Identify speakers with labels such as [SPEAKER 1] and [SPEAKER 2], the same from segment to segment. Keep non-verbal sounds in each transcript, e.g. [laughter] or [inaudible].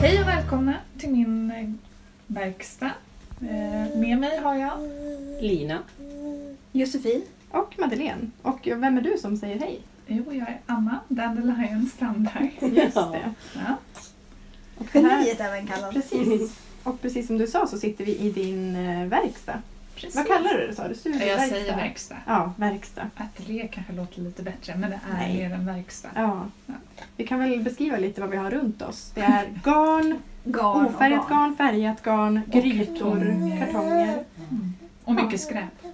[SPEAKER 1] Hej och välkomna till min eh, verkstad. Eh, Med mig har jag...
[SPEAKER 2] Lina.
[SPEAKER 3] Josefin och Madeleine. Och vem är du som säger hej?
[SPEAKER 1] Jo, jag är Anna Dandelion Strandberg.
[SPEAKER 3] Just
[SPEAKER 2] Ja.
[SPEAKER 3] det.
[SPEAKER 1] Ja.
[SPEAKER 3] Och det här,
[SPEAKER 4] Geniet även kallat.
[SPEAKER 3] precis. Och precis som du sa så sitter vi i din eh, verkstad. Vad kallar du det sa du?
[SPEAKER 1] Ja,
[SPEAKER 3] Studieverkstad?
[SPEAKER 1] Jag säger verkstad.
[SPEAKER 3] Ja, verkstad.
[SPEAKER 1] Ateljé kanske låter lite bättre, men det är
[SPEAKER 3] Nej.
[SPEAKER 1] mer en verkstad.
[SPEAKER 3] Ja.
[SPEAKER 1] Ja.
[SPEAKER 3] Vi kan väl beskriva lite vad vi har runt oss. Det är garn,
[SPEAKER 4] Garn och
[SPEAKER 3] ofärgat
[SPEAKER 4] garn.
[SPEAKER 3] garn, färgat garn, grytor,
[SPEAKER 1] kartonger.
[SPEAKER 3] kartonger.
[SPEAKER 1] Mm. Och mycket skräp.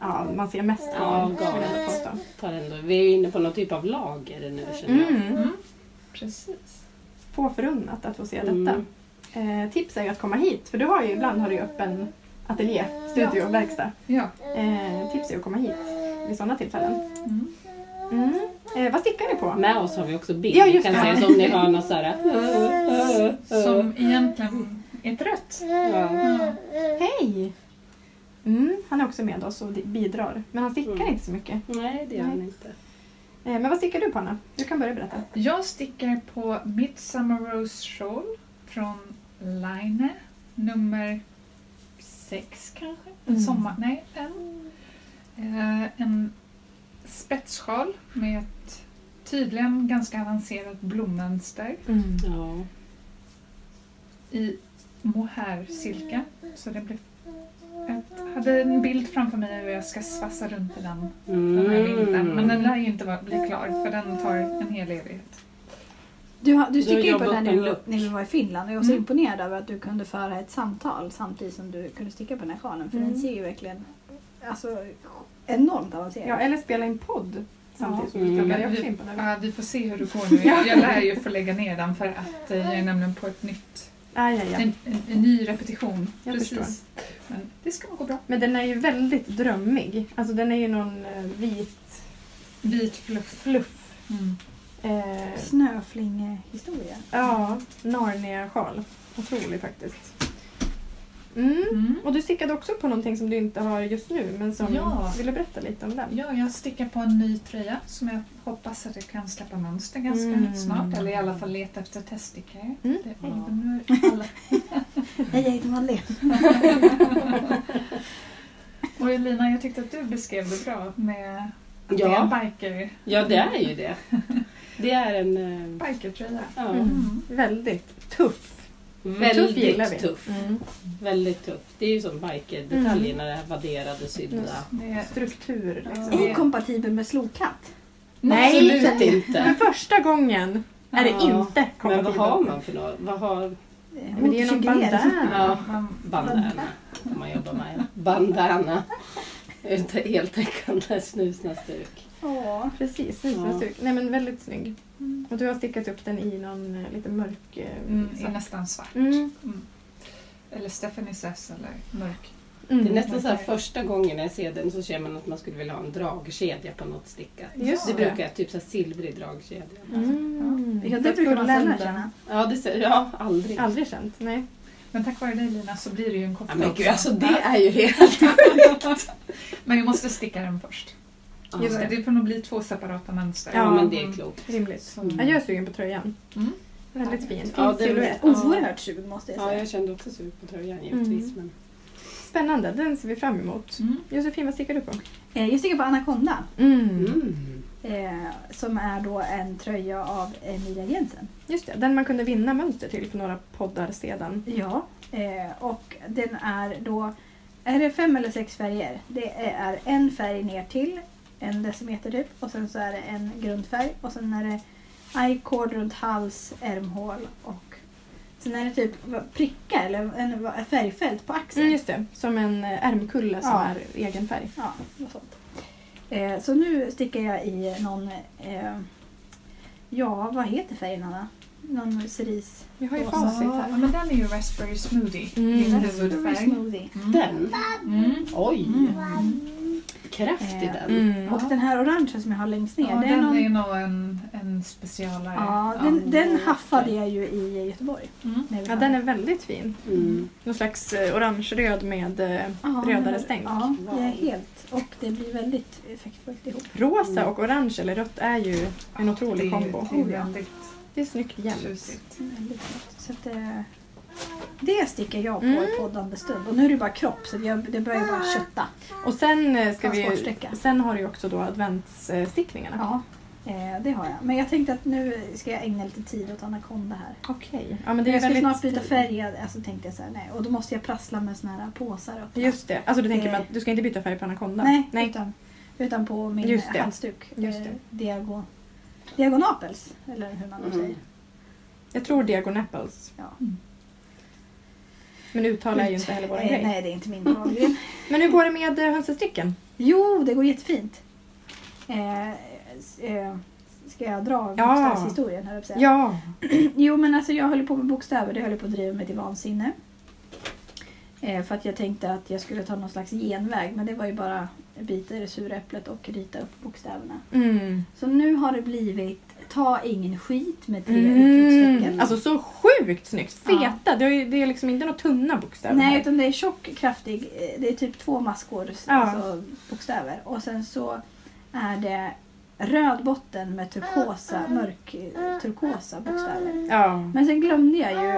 [SPEAKER 3] Ja, man ser mest
[SPEAKER 2] Ja,
[SPEAKER 3] garn.
[SPEAKER 2] garn.
[SPEAKER 3] skulle jag påstå.
[SPEAKER 2] Tar ändå. Vi är inne på någon typ av lager nu känner jag.
[SPEAKER 3] Mm.
[SPEAKER 1] Mm. Precis.
[SPEAKER 3] Få förunnat att få se detta.
[SPEAKER 2] Mm.
[SPEAKER 3] Eh, tips är ju att komma hit, för du har ju ibland har du ju öppen ateljé, studio, verkstad.
[SPEAKER 1] Ja.
[SPEAKER 3] Eh, tips är att komma hit vid sådana tillfällen.
[SPEAKER 1] Mm.
[SPEAKER 3] Mm. Eh, vad stickar ni på?
[SPEAKER 2] Med oss har vi också bild.
[SPEAKER 3] Ja,
[SPEAKER 2] Vi
[SPEAKER 3] just
[SPEAKER 2] kan
[SPEAKER 3] det.
[SPEAKER 2] säga så om ni hör något
[SPEAKER 3] [laughs]
[SPEAKER 2] såhär.
[SPEAKER 1] Som egentligen är trött.
[SPEAKER 2] Ja.
[SPEAKER 1] Ja.
[SPEAKER 3] Hej! Mm, han är också med oss och di- bidrar, men han stickar
[SPEAKER 2] Mm.
[SPEAKER 3] inte så mycket.
[SPEAKER 2] Nej, det gör
[SPEAKER 3] Nej.
[SPEAKER 2] han inte.
[SPEAKER 3] Eh, men vad stickar du på Anna? Du kan börja berätta.
[SPEAKER 1] Jag stickar på Midsummer Rose Shawl från Line nummer sex kanske? En
[SPEAKER 3] Mm.
[SPEAKER 1] sommar... Nej, en. Eh, en spetssjal med ett tydligen ganska avancerat blommönster
[SPEAKER 2] Mm. Ja.
[SPEAKER 1] i mohair-silke. Så det blev... Jag hade en bild framför mig hur jag ska svassa runt i den, den här
[SPEAKER 2] Mm.
[SPEAKER 1] bilden. Men den lär ju inte vara- bli klar för den tar en hel evighet.
[SPEAKER 4] Du, har- du
[SPEAKER 2] Du har
[SPEAKER 4] sticker ju på
[SPEAKER 2] jobbat
[SPEAKER 4] den här när
[SPEAKER 2] en
[SPEAKER 4] vi,
[SPEAKER 2] look.
[SPEAKER 4] när vi var i Finland och jag var så
[SPEAKER 1] Mm.
[SPEAKER 4] imponerad över att du kunde föra ett samtal samtidigt som du kunde sticka på den här sjalen. För
[SPEAKER 3] Mm.
[SPEAKER 4] den ser ju verkligen alltså, enormt avancerad
[SPEAKER 3] Ja,
[SPEAKER 4] ut.
[SPEAKER 3] eller spela in podd samtidigt som du
[SPEAKER 2] Mm.
[SPEAKER 3] stickar. Jag är också
[SPEAKER 1] Vi-
[SPEAKER 3] imponerad.
[SPEAKER 1] Ja, vi får se hur det går nu. Jag jag lär ju få lägga ner den för att eh, jag är nämligen på ett nytt,
[SPEAKER 3] Ah, ja, ja.
[SPEAKER 1] en, en, en ny repetition.
[SPEAKER 3] Jag
[SPEAKER 1] Men det ska nog gå bra.
[SPEAKER 3] Men den är ju väldigt drömmig. Alltså den är ju någon eh, vit
[SPEAKER 1] Vit fluff.
[SPEAKER 3] fluff.
[SPEAKER 1] Mm.
[SPEAKER 3] Eh,
[SPEAKER 4] Snöflingehistoria.
[SPEAKER 3] ja, Narnia-sjal. Otrolig faktiskt. Mm.
[SPEAKER 1] Mm.
[SPEAKER 3] Och du stickade också på någonting som du inte har just nu, men som
[SPEAKER 1] Ja.
[SPEAKER 3] ville berätta lite om den.
[SPEAKER 1] Ja, jag stickar på en ny tröja som jag hoppas att jag kan släppa mönster ganska
[SPEAKER 3] Mm.
[SPEAKER 1] snart. Eller i alla fall leta efter teststickare.
[SPEAKER 3] Mm.
[SPEAKER 1] Det,
[SPEAKER 2] Ja.
[SPEAKER 1] oj, nu är alla.
[SPEAKER 4] Nej, jag heter Madeleine.
[SPEAKER 1] Och Elina, jag tyckte att du beskrev det bra med att det är en
[SPEAKER 2] Ja.
[SPEAKER 1] biker,
[SPEAKER 2] ja, det är ju det. Det är en eh,
[SPEAKER 1] bikertröja.
[SPEAKER 2] ja,
[SPEAKER 3] Mm. Väldigt tuff. tuff gillar vi.
[SPEAKER 2] väldigt tuff.
[SPEAKER 3] Mm.
[SPEAKER 2] Väldigt tuff. Det är ju som biker-detaljerna, det här vadderade, sydda.
[SPEAKER 1] Det är
[SPEAKER 3] Struktur liksom.
[SPEAKER 1] Ja.
[SPEAKER 4] Inkompatibel med slokhatt.
[SPEAKER 3] Nej,
[SPEAKER 2] Absolut
[SPEAKER 3] För [laughs]
[SPEAKER 2] inte.
[SPEAKER 3] första gången är det
[SPEAKER 2] Ja.
[SPEAKER 3] inte
[SPEAKER 2] Men vad
[SPEAKER 3] kompatibelt.
[SPEAKER 2] har man för något? Vad har
[SPEAKER 4] Eh,
[SPEAKER 3] Men det är ju någon bandana.
[SPEAKER 2] Ja.
[SPEAKER 1] man-
[SPEAKER 2] bandana? Om man jobbar med bandana. Ett heltäckande snusnäsduk.
[SPEAKER 4] Ja.
[SPEAKER 3] Precis, en
[SPEAKER 2] Ja.
[SPEAKER 3] snygg. Nej men väldigt snygg.
[SPEAKER 1] Mm.
[SPEAKER 3] Och du har stickat upp den i någon eh, lite mörk... eh,
[SPEAKER 1] Mm,
[SPEAKER 3] svart.
[SPEAKER 1] är nästan svart.
[SPEAKER 3] Mm.
[SPEAKER 1] Eller Stephanie Sess eller mörk.
[SPEAKER 3] Mm.
[SPEAKER 2] Det är nästan så här första gången jag ser den så känner man att man skulle vilja ha en dragkedja på något stickat.
[SPEAKER 3] Just
[SPEAKER 2] Det
[SPEAKER 3] det.
[SPEAKER 2] brukar jag, typ så här silvrig dragkedja.
[SPEAKER 3] Mm.
[SPEAKER 4] Ja, det brukar man sällan känna.
[SPEAKER 2] Ja, det ser, ja aldrig.
[SPEAKER 3] Aldrig känt, nej.
[SPEAKER 1] Men tack vare dig Lina så blir det ju en koppling.
[SPEAKER 2] Ja, men gud,
[SPEAKER 1] också.
[SPEAKER 2] alltså det
[SPEAKER 1] Ja.
[SPEAKER 2] är ju helt...
[SPEAKER 1] [laughs] Men jag måste sticka den först.
[SPEAKER 3] Just
[SPEAKER 1] det.
[SPEAKER 3] det.
[SPEAKER 1] får nog bli två separata mönster.
[SPEAKER 2] Ja,
[SPEAKER 3] Ja.
[SPEAKER 2] men det är klokt. Mm.
[SPEAKER 3] Rimligt.
[SPEAKER 1] Så-
[SPEAKER 3] Ja, jag är sugen på tröjan.
[SPEAKER 1] Mm.
[SPEAKER 3] Väldigt fin. Fin
[SPEAKER 2] Ja, det-
[SPEAKER 3] silhuett.
[SPEAKER 4] Oerhört sug måste jag
[SPEAKER 2] Ja,
[SPEAKER 4] säga.
[SPEAKER 2] jag kände också sug på tröjan givetvis. Men...
[SPEAKER 3] Spännande, den ser vi fram emot.
[SPEAKER 1] Mm.
[SPEAKER 3] Josefin, vad stickar du på?
[SPEAKER 4] Eh, Jag sticker på Anaconda.
[SPEAKER 2] Mm.
[SPEAKER 4] Eh, som är då en tröja av Emilia Jensen.
[SPEAKER 3] Just det, den man kunde vinna mönster till för några poddar sedan.
[SPEAKER 4] Ja. Eh, och den är då, är det fem eller sex färger? Det är en färg ner till en decimeter typ och sen så är det en grundfärg och sen är det i-cord runt hals, ärmhål och sen är det typ prickar eller en en färgfält på axeln.
[SPEAKER 3] Mm, just det, som en eh, ärmkulle som
[SPEAKER 4] Ja.
[SPEAKER 3] är egen färg.
[SPEAKER 4] Ja, något sånt. Eh, så nu stickar jag i någon, eh, ja vad heter färgen Anna? Någon cerise?
[SPEAKER 3] Vi har ju
[SPEAKER 1] Och-
[SPEAKER 3] facit
[SPEAKER 1] ja,
[SPEAKER 3] här.
[SPEAKER 1] men den är ju Raspberry Smoothie.
[SPEAKER 3] Mm.
[SPEAKER 1] Min
[SPEAKER 4] Alltså, Raspberry
[SPEAKER 1] huvudfärg.
[SPEAKER 4] smoothie.
[SPEAKER 1] Mm.
[SPEAKER 2] Den?
[SPEAKER 1] Mm.
[SPEAKER 2] Oj!
[SPEAKER 1] Mm.
[SPEAKER 2] Kraft i
[SPEAKER 4] Eh,
[SPEAKER 2] den.
[SPEAKER 3] Mm.
[SPEAKER 4] Och den här orangea som jag har längst ner.
[SPEAKER 1] Ja,
[SPEAKER 4] det är
[SPEAKER 1] den
[SPEAKER 4] någon,
[SPEAKER 1] är nog en, en specialare.
[SPEAKER 4] ja, den, den
[SPEAKER 2] okej.
[SPEAKER 4] haffade jag ju i Göteborg.
[SPEAKER 1] Mm.
[SPEAKER 4] när vi
[SPEAKER 3] Ja,
[SPEAKER 4] var-
[SPEAKER 3] den är väldigt fin.
[SPEAKER 2] Mm.
[SPEAKER 3] Någon slags eh, orange-röd med eh,
[SPEAKER 4] Ja,
[SPEAKER 3] rödare
[SPEAKER 4] men-
[SPEAKER 3] stänk.
[SPEAKER 4] Ja,
[SPEAKER 2] Wow.
[SPEAKER 4] det är helt. Och det blir väldigt effektfullt ihop.
[SPEAKER 3] Rosa
[SPEAKER 2] Mm.
[SPEAKER 3] och orange eller rött är ju en otrolig
[SPEAKER 1] Det är-
[SPEAKER 3] kombo.
[SPEAKER 1] Det är väldigt
[SPEAKER 3] Det är snyggt jämnt.
[SPEAKER 1] Tjusigt.
[SPEAKER 4] Väldigt snyggt. Så att, eh, det sticker jag på
[SPEAKER 3] Mm.
[SPEAKER 4] i poddande stund. Och nu är det bara kropp så jag, det börjar bara kötta.
[SPEAKER 3] Och sen eh, ska vi...
[SPEAKER 4] Transportsträcka.
[SPEAKER 3] Sen har du ju också då adventsstickningarna.
[SPEAKER 4] Ja, eh, det har jag. Men jag tänkte att nu ska jag ägna lite tid åt anakonda här.
[SPEAKER 3] Okej. Ja, men det är
[SPEAKER 4] jag ska
[SPEAKER 3] väldigt...
[SPEAKER 4] snart byta färg, alltså tänkte jag så här, nej. Och då måste jag prassla med såna här påsar och
[SPEAKER 3] Just det. Alltså du tänker
[SPEAKER 4] Det-
[SPEAKER 3] med att du ska inte byta färg på anakonda?
[SPEAKER 4] Nej, Utan, utan på min
[SPEAKER 3] Just det.
[SPEAKER 4] halsduk.
[SPEAKER 3] Just
[SPEAKER 4] eh,
[SPEAKER 3] det.
[SPEAKER 4] Diago, diagonapels, eller hur man nu
[SPEAKER 2] Mm.
[SPEAKER 4] säger.
[SPEAKER 3] Jag tror diagonepals.
[SPEAKER 4] Ja.
[SPEAKER 3] Men uttala är ju inte heller våra
[SPEAKER 4] Eh,
[SPEAKER 3] grej.
[SPEAKER 4] Nej, det är inte min dragning.
[SPEAKER 3] Men hur går det med eh, hönsestricken?
[SPEAKER 4] jo, det går jättefint. Eh, s- eh, ska jag dra
[SPEAKER 3] Ja.
[SPEAKER 4] bokstavshistorien? Här, ja.
[SPEAKER 3] Ja.
[SPEAKER 4] Jo, men alltså jag höll på med bokstäver. Det höll på att driva mig till vansinne. Eh, för att jag tänkte att jag skulle ta någon slags genväg. Men det var ju bara bita i det sura äpplet och rita upp bokstäverna.
[SPEAKER 3] Mm.
[SPEAKER 4] Så nu har det blivit Ta ingen skit med tre
[SPEAKER 3] Mm.
[SPEAKER 4] utropstecken.
[SPEAKER 3] Alltså så sjukt snyggt!
[SPEAKER 4] Ja.
[SPEAKER 3] Feta! Det, är ju, det är liksom inte några tunna bokstäver.
[SPEAKER 4] Nej,
[SPEAKER 3] här.
[SPEAKER 4] utan det är tjock, kraftig. eh, Det är typ två maskor
[SPEAKER 3] Ja.
[SPEAKER 4] alltså, bokstäver. Och sen så är det röd botten med turkosa, mörk eh, turkosa bokstäver.
[SPEAKER 3] Ja,
[SPEAKER 4] Men sen glömde jag ju,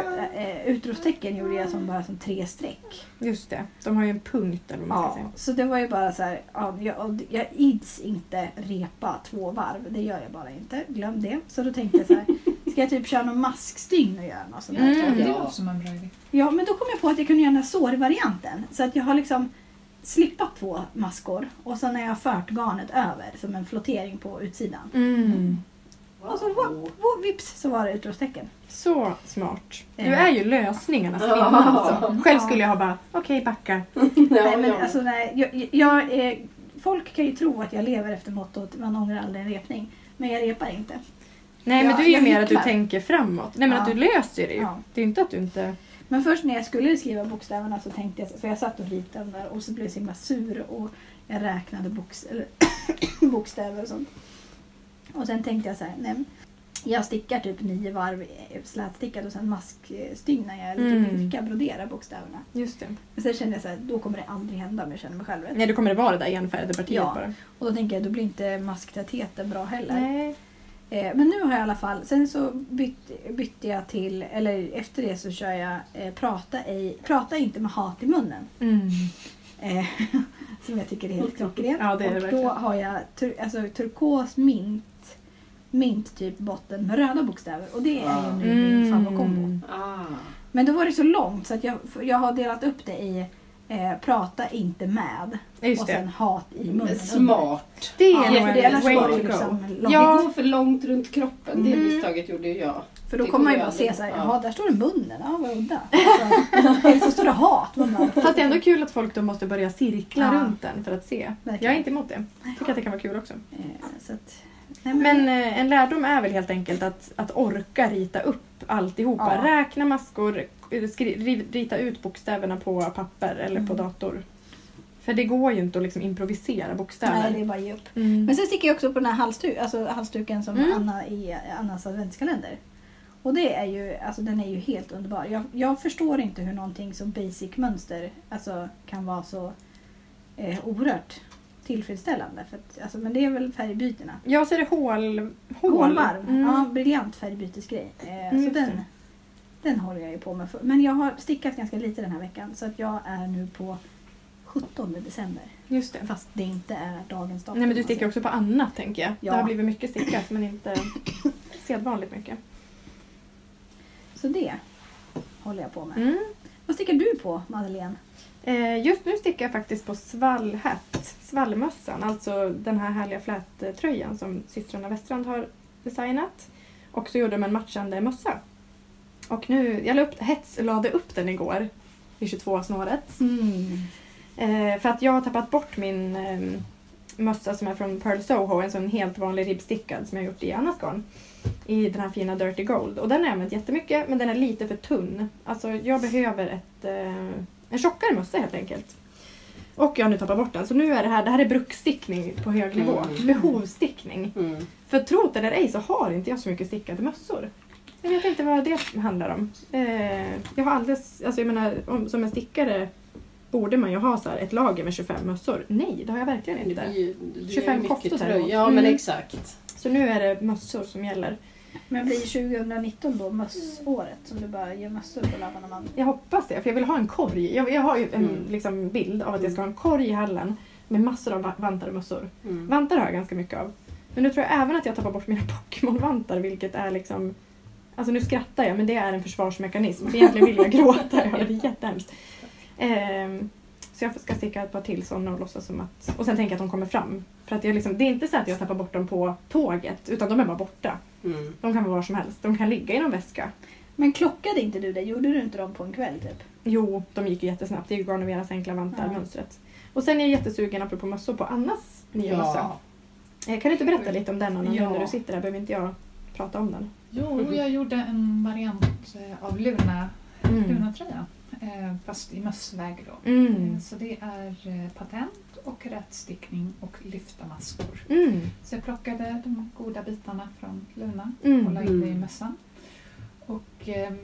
[SPEAKER 4] eh, utropstecken gjorde jag som bara som tre streck.
[SPEAKER 3] just det. De har ju en punkt eller vad man ska
[SPEAKER 4] Ja,
[SPEAKER 3] säga.
[SPEAKER 4] så det var ju bara så här, ja, jag, och jag ids inte repa två varv, det gör jag bara inte. Glöm det. Så då tänkte jag [laughs] så här, ska jag typ köra någon maskstygn och göra något sånt där?
[SPEAKER 3] Mm.
[SPEAKER 1] Det
[SPEAKER 2] Ja.
[SPEAKER 1] låter som en bra idé.
[SPEAKER 4] Ja, men då kom jag på att jag kunde göra den här sårvarianten. Så att jag har liksom slippat två maskor och sen har jag fört garnet över som en flottering på utsidan.
[SPEAKER 3] Mm.
[SPEAKER 4] Och så wo-
[SPEAKER 2] [laughs]
[SPEAKER 4] wo- vips så var det utropstecken. Eh,
[SPEAKER 3] Så smart. Du
[SPEAKER 4] Ja.
[SPEAKER 3] är ju lösningarnas kvinna
[SPEAKER 2] Ja.
[SPEAKER 3] alltså. Själv
[SPEAKER 4] Ja.
[SPEAKER 3] skulle jag ha bara, okej backa.
[SPEAKER 4] nej, men alltså nej, jag, jag, eh, folk kan ju tro att jag lever efter mottot man ångrar aldrig en repning. Men jag repar inte.
[SPEAKER 3] Nej men
[SPEAKER 4] Ja,
[SPEAKER 3] du är ju
[SPEAKER 4] jag
[SPEAKER 3] mer att du
[SPEAKER 4] hycklar.
[SPEAKER 3] tänker framåt. Nej men
[SPEAKER 4] Ja.
[SPEAKER 3] att du löser det ju.
[SPEAKER 4] Ja.
[SPEAKER 3] Det är ju inte att du inte...
[SPEAKER 4] Men först när jag skulle skriva bokstäverna så tänkte jag, för jag satt och ritade dem där och så blev jag så himla sur och jag räknade boks- eller [clears throat] bokstäver och sånt. Och sen tänkte jag så här, nej, men jag stickar typ nio varv eh, slätstickat och sen maskstygnar jag eller typ
[SPEAKER 3] Mm.
[SPEAKER 4] virkar, broderar bokstäverna.
[SPEAKER 3] Just det.
[SPEAKER 4] Men sen kände jag så här, då kommer det aldrig hända om jag känner mig själv rätt.
[SPEAKER 3] Nej då kommer det vara det där enfärgade partiet
[SPEAKER 4] Ja.
[SPEAKER 3] bara.
[SPEAKER 4] Och då tänker jag, då blir inte masktätheten bra heller.
[SPEAKER 3] Nej.
[SPEAKER 4] Eh, men nu har jag i alla fall, sen så bytte, bytte jag till, eller efter det så kör jag eh, prata, ej, prata inte med hat i munnen.
[SPEAKER 3] Mm.
[SPEAKER 4] Eh, [laughs] som jag tycker är helt klockrent.
[SPEAKER 3] Ja, det är det
[SPEAKER 4] och då
[SPEAKER 3] verkligen.
[SPEAKER 4] har jag tur, alltså, turkos, mint, mint typ botten med röda bokstäver. Och det är ju nu
[SPEAKER 3] Mm.
[SPEAKER 4] min favoritkombo.
[SPEAKER 2] Ah.
[SPEAKER 4] Men då var det så långt så att jag, jag har delat upp det i eh, prata inte med
[SPEAKER 3] Ja, Just
[SPEAKER 4] och sen
[SPEAKER 3] det.
[SPEAKER 4] hat i munnen.
[SPEAKER 2] Smart.
[SPEAKER 3] Det är
[SPEAKER 4] Ja,
[SPEAKER 3] nog
[SPEAKER 4] för det,
[SPEAKER 3] en
[SPEAKER 4] annars
[SPEAKER 2] way
[SPEAKER 4] går det
[SPEAKER 2] to
[SPEAKER 4] ju
[SPEAKER 2] go.
[SPEAKER 4] liksom långt.
[SPEAKER 3] Ja.
[SPEAKER 2] Det går för långt runt kroppen. Det
[SPEAKER 3] Mm.
[SPEAKER 2] misstaget gjorde ju jag.
[SPEAKER 4] För då
[SPEAKER 2] Det
[SPEAKER 4] kommer man ju
[SPEAKER 2] går
[SPEAKER 4] bara
[SPEAKER 2] aldrig.
[SPEAKER 4] se såhär,
[SPEAKER 2] Ja.
[SPEAKER 4] jaha där står det munnen, ja vad udda. Alltså, [laughs] Eller så står det hat. Man bara,
[SPEAKER 3] Fast det är ändå kul att folk då måste börja cirkla
[SPEAKER 4] Ja.
[SPEAKER 3] runt den för att se.
[SPEAKER 4] Verkligen.
[SPEAKER 3] Jag är inte emot det. Jag tycker att det kan vara kul också.
[SPEAKER 4] eh, så att, nej,
[SPEAKER 3] Men eh, en lärdom är väl helt enkelt att, att orka rita upp alltihopa.
[SPEAKER 4] Ja.
[SPEAKER 3] Räkna maskor, eh, skri, ri- rita ut bokstäverna på papper eller på
[SPEAKER 4] Mm.
[SPEAKER 3] dator. För det går ju inte att liksom improvisera bokstäver.
[SPEAKER 4] nej, det är bara att ge upp.
[SPEAKER 3] mm.
[SPEAKER 4] Men sen sticker jag också på den här halsduk, alltså halsduken som
[SPEAKER 3] Mm.
[SPEAKER 4] Anna i Annas adventskalender. Och det är ju, alltså den är ju helt underbar. Jag, jag förstår inte hur någonting som basic mönster alltså, kan vara så eh, oerhört tillfredsställande. För att, alltså, men det är väl färgbytena.
[SPEAKER 3] Jag ser det hål... hål.
[SPEAKER 4] Hålvarv,
[SPEAKER 3] Mm.
[SPEAKER 4] ja briljant färgbytesgrej. Eh,
[SPEAKER 3] Mm, just
[SPEAKER 4] så den,
[SPEAKER 3] det.
[SPEAKER 4] den håller jag ju på med. för- Men jag har stickat ganska lite den här veckan så att jag är nu på 17 december.
[SPEAKER 3] Just det.
[SPEAKER 4] Fast det inte är dagens datum.
[SPEAKER 3] Nej men du
[SPEAKER 4] alltså.
[SPEAKER 3] stickar också på annat tänker jag.
[SPEAKER 4] Ja.
[SPEAKER 3] Det har blivit mycket stickat
[SPEAKER 4] [coughs]
[SPEAKER 3] men inte sedvanligt mycket.
[SPEAKER 4] Så det håller jag på med.
[SPEAKER 3] Mm.
[SPEAKER 4] Vad stickar du på Madeleine?
[SPEAKER 3] Eh, just nu stickar jag faktiskt på svallhatt, svallmössan, alltså den här härliga flättröjan som systrarna Westrand har designat. Och så gjorde de en matchande mössa. Och nu, jag la upp, hets, lade upp den igår vid 22-snåret.
[SPEAKER 4] Mm.
[SPEAKER 3] Eh, för att jag har tappat bort min eh, mössa som är från Pearl Soho, en sån helt vanlig ribbstickad som jag gjort i Annas garn. I den här fina Dirty Gold. Och den har jag använt jättemycket men den är lite för tunn. Alltså jag behöver ett, eh, en tjockare mössa helt enkelt. Och jag har nu tappat bort den. Så nu är det här, det här är bruksstickning på hög nivå.
[SPEAKER 2] Mm.
[SPEAKER 3] Behovsstickning.
[SPEAKER 2] Mm.
[SPEAKER 3] För tro't eller ej så har inte jag så mycket stickade mössor. Jag vet inte vad det handlar om. Eh, jag har alldeles, alltså jag menar, om, som en stickare borde man ju ha så här ett lager med 25 mössor. Nej, det har jag verkligen
[SPEAKER 2] Men det
[SPEAKER 3] inte.
[SPEAKER 2] blir ju- det blir ju
[SPEAKER 3] 25
[SPEAKER 2] mycket
[SPEAKER 3] koftor
[SPEAKER 2] tröja.
[SPEAKER 3] däremot.
[SPEAKER 2] Ja men
[SPEAKER 3] Mm.
[SPEAKER 2] exakt.
[SPEAKER 3] Så nu är det mössor som gäller.
[SPEAKER 4] Men blir 2019 då mössåret? Som du bara ger mössor på labbarna man?
[SPEAKER 3] Jag hoppas det, för jag vill ha en korg. Jag, jag har ju en
[SPEAKER 2] Mm.
[SPEAKER 3] liksom, bild av att jag ska ha en korg i hallen med massor av va- vantar och mössor.
[SPEAKER 2] Mm.
[SPEAKER 3] Vantar har jag ganska mycket av. Men nu tror jag även att jag tappar bort mina [laughs] Pokémon-vantar vilket är liksom... Alltså nu skrattar jag men det är en försvarsmekanism. För egentligen vill jag gråta, jag har det jättehemskt. Ehm, så jag ska sticka ett par till sådana och låtsas som att... Och sen tänker jag att de kommer fram. För att jag liksom, det är inte så att jag tappar bort dem på tåget utan de är bara borta.
[SPEAKER 2] Mm.
[SPEAKER 3] De kan vara var som helst. De kan ligga i någon väska.
[SPEAKER 4] Men klockade inte du det? Gjorde du inte dem på en kväll typ?
[SPEAKER 3] Jo, de gick ju jättesnabbt. Det är ju Garnoveras enkla vantar,
[SPEAKER 4] Ja.
[SPEAKER 3] mönstret. Och sen är jag jättesugen, apropå mössor, på Annas nya mössa.
[SPEAKER 2] Ja.
[SPEAKER 3] Eh, Kan du inte berätta lite om den Anna,
[SPEAKER 1] Ja.
[SPEAKER 3] nu när du sitter där? Behöver inte jag prata om den?
[SPEAKER 1] Jo, jag gjorde en variant eh, av Luna,
[SPEAKER 3] Mm.
[SPEAKER 1] Luna-tröjan. Eh, fast i mössväg då.
[SPEAKER 3] Mm.
[SPEAKER 1] Så det är eh, patent och rätstickning och lyfta maskor.
[SPEAKER 3] Mm.
[SPEAKER 1] Så jag plockade de goda bitarna från Luna och la
[SPEAKER 3] Mm.
[SPEAKER 1] in det i mössan. Och ehm,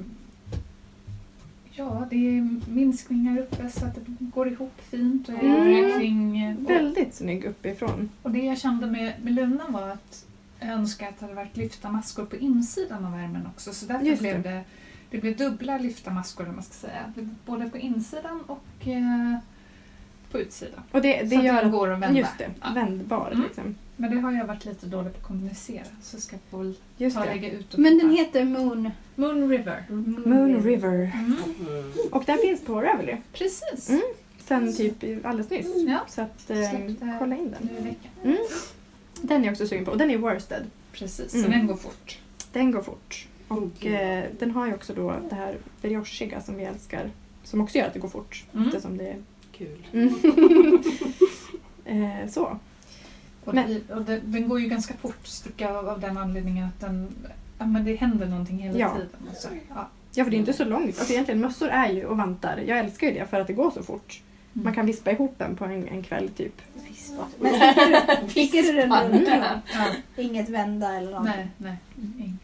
[SPEAKER 1] ja, det är minskningar uppe så att det går ihop fint. Och jag
[SPEAKER 3] Mm.
[SPEAKER 1] gjorde kring, och,
[SPEAKER 3] Väldigt snygg uppifrån.
[SPEAKER 1] och det jag kände med, med Luna var att jag önskade att det hade varit lyfta maskor på insidan av ärmen också. Så därför
[SPEAKER 3] Just
[SPEAKER 1] blev
[SPEAKER 3] det.
[SPEAKER 1] det, det blev dubbla lyfta maskor, om man ska säga. Det blev Både på insidan och eh, på utsidan.
[SPEAKER 3] Och det, det
[SPEAKER 1] så
[SPEAKER 3] gör
[SPEAKER 1] att den
[SPEAKER 3] att...
[SPEAKER 1] går att vända.
[SPEAKER 3] Just det,
[SPEAKER 1] Ja.
[SPEAKER 3] vändbar
[SPEAKER 1] Mm.
[SPEAKER 3] liksom.
[SPEAKER 1] Men det har jag varit lite dålig på att kommunicera så jag ska jag väl
[SPEAKER 3] Just
[SPEAKER 1] ta och
[SPEAKER 3] det.
[SPEAKER 1] lägga ut och
[SPEAKER 4] Men
[SPEAKER 1] titta.
[SPEAKER 4] den heter Moon...
[SPEAKER 1] Moon River.
[SPEAKER 3] Moon River.
[SPEAKER 1] Mm.
[SPEAKER 2] Mm.
[SPEAKER 3] Och den finns på Ravelry.
[SPEAKER 1] Precis.
[SPEAKER 3] Mm. Sen typ alldeles nyss.
[SPEAKER 1] Ja.
[SPEAKER 3] Så att, ehm,
[SPEAKER 1] Släppte-
[SPEAKER 3] kolla in den.
[SPEAKER 1] Nu i veckan.
[SPEAKER 3] Mm. Den är jag också sugen på. Och den är worsted.
[SPEAKER 1] Precis, så
[SPEAKER 3] Mm.
[SPEAKER 1] den går fort.
[SPEAKER 3] Den går fort. Och
[SPEAKER 2] Mm.
[SPEAKER 3] eh, den har ju också då det här briochiga som vi älskar. Som också gör att det går fort.
[SPEAKER 1] Mm.
[SPEAKER 3] Eftersom det
[SPEAKER 1] [laughs]
[SPEAKER 3] är...
[SPEAKER 2] Kul.
[SPEAKER 3] Mm. eh, så.
[SPEAKER 1] Och,
[SPEAKER 3] Men-
[SPEAKER 1] det, och det, den går ju ganska fort sticka av, av den anledningen att den, ja, men det händer någonting hela
[SPEAKER 3] Ja.
[SPEAKER 1] tiden. Och så. Ja.
[SPEAKER 3] Ja, för det är inte så långt. Alltså egentligen mössor är ju och vantar. Jag älskar ju det för att det går så fort.
[SPEAKER 1] Mm.
[SPEAKER 3] Man kan vispa ihop en på en, en kväll typ.
[SPEAKER 4] Men [laughs] sticker du, sticker du den
[SPEAKER 2] Visst,
[SPEAKER 4] runt?
[SPEAKER 2] fan.
[SPEAKER 1] Ja.
[SPEAKER 4] Inget vända eller någonting?
[SPEAKER 1] Nej, nej. Mm.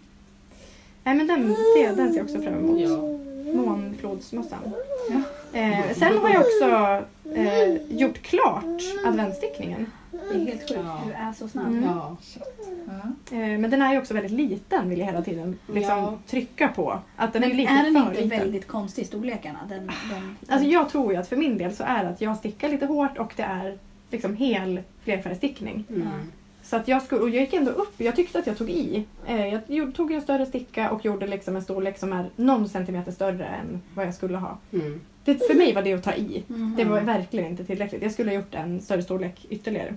[SPEAKER 3] Nej men den, det, den ser jag också fram emot.
[SPEAKER 2] Ja.
[SPEAKER 3] Månflodsmössan.
[SPEAKER 1] Ja.
[SPEAKER 3] Eh, sen har jag också eh, gjort klart adventsstickningen.
[SPEAKER 4] Det är helt sjukt,
[SPEAKER 2] Ja.
[SPEAKER 4] du är så snabb.
[SPEAKER 3] Mm.
[SPEAKER 2] Ja.
[SPEAKER 1] Ja.
[SPEAKER 3] Eh, men den är ju också väldigt liten vill jag hela tiden liksom,
[SPEAKER 2] Ja.
[SPEAKER 3] trycka på. Att den är
[SPEAKER 4] Men
[SPEAKER 3] lite
[SPEAKER 4] är den
[SPEAKER 3] för
[SPEAKER 4] inte
[SPEAKER 3] liten.
[SPEAKER 4] väldigt konstig i storlekarna? Den, den,
[SPEAKER 3] Alltså jag tror ju att för min del så är det att jag stickar lite hårt och det är liksom hel flerfärgstickning.
[SPEAKER 2] Mm.
[SPEAKER 3] Så att jag, skulle, och jag gick ändå upp. Jag tyckte att jag tog i. Eh, jag gjorde, tog en större sticka och gjorde liksom en storlek som är någon centimeter större än vad jag skulle ha.
[SPEAKER 2] Mm.
[SPEAKER 3] Det, för mig var det att ta i.
[SPEAKER 4] Mhm.
[SPEAKER 3] Det var verkligen inte tillräckligt. Jag skulle ha gjort en större storlek ytterligare.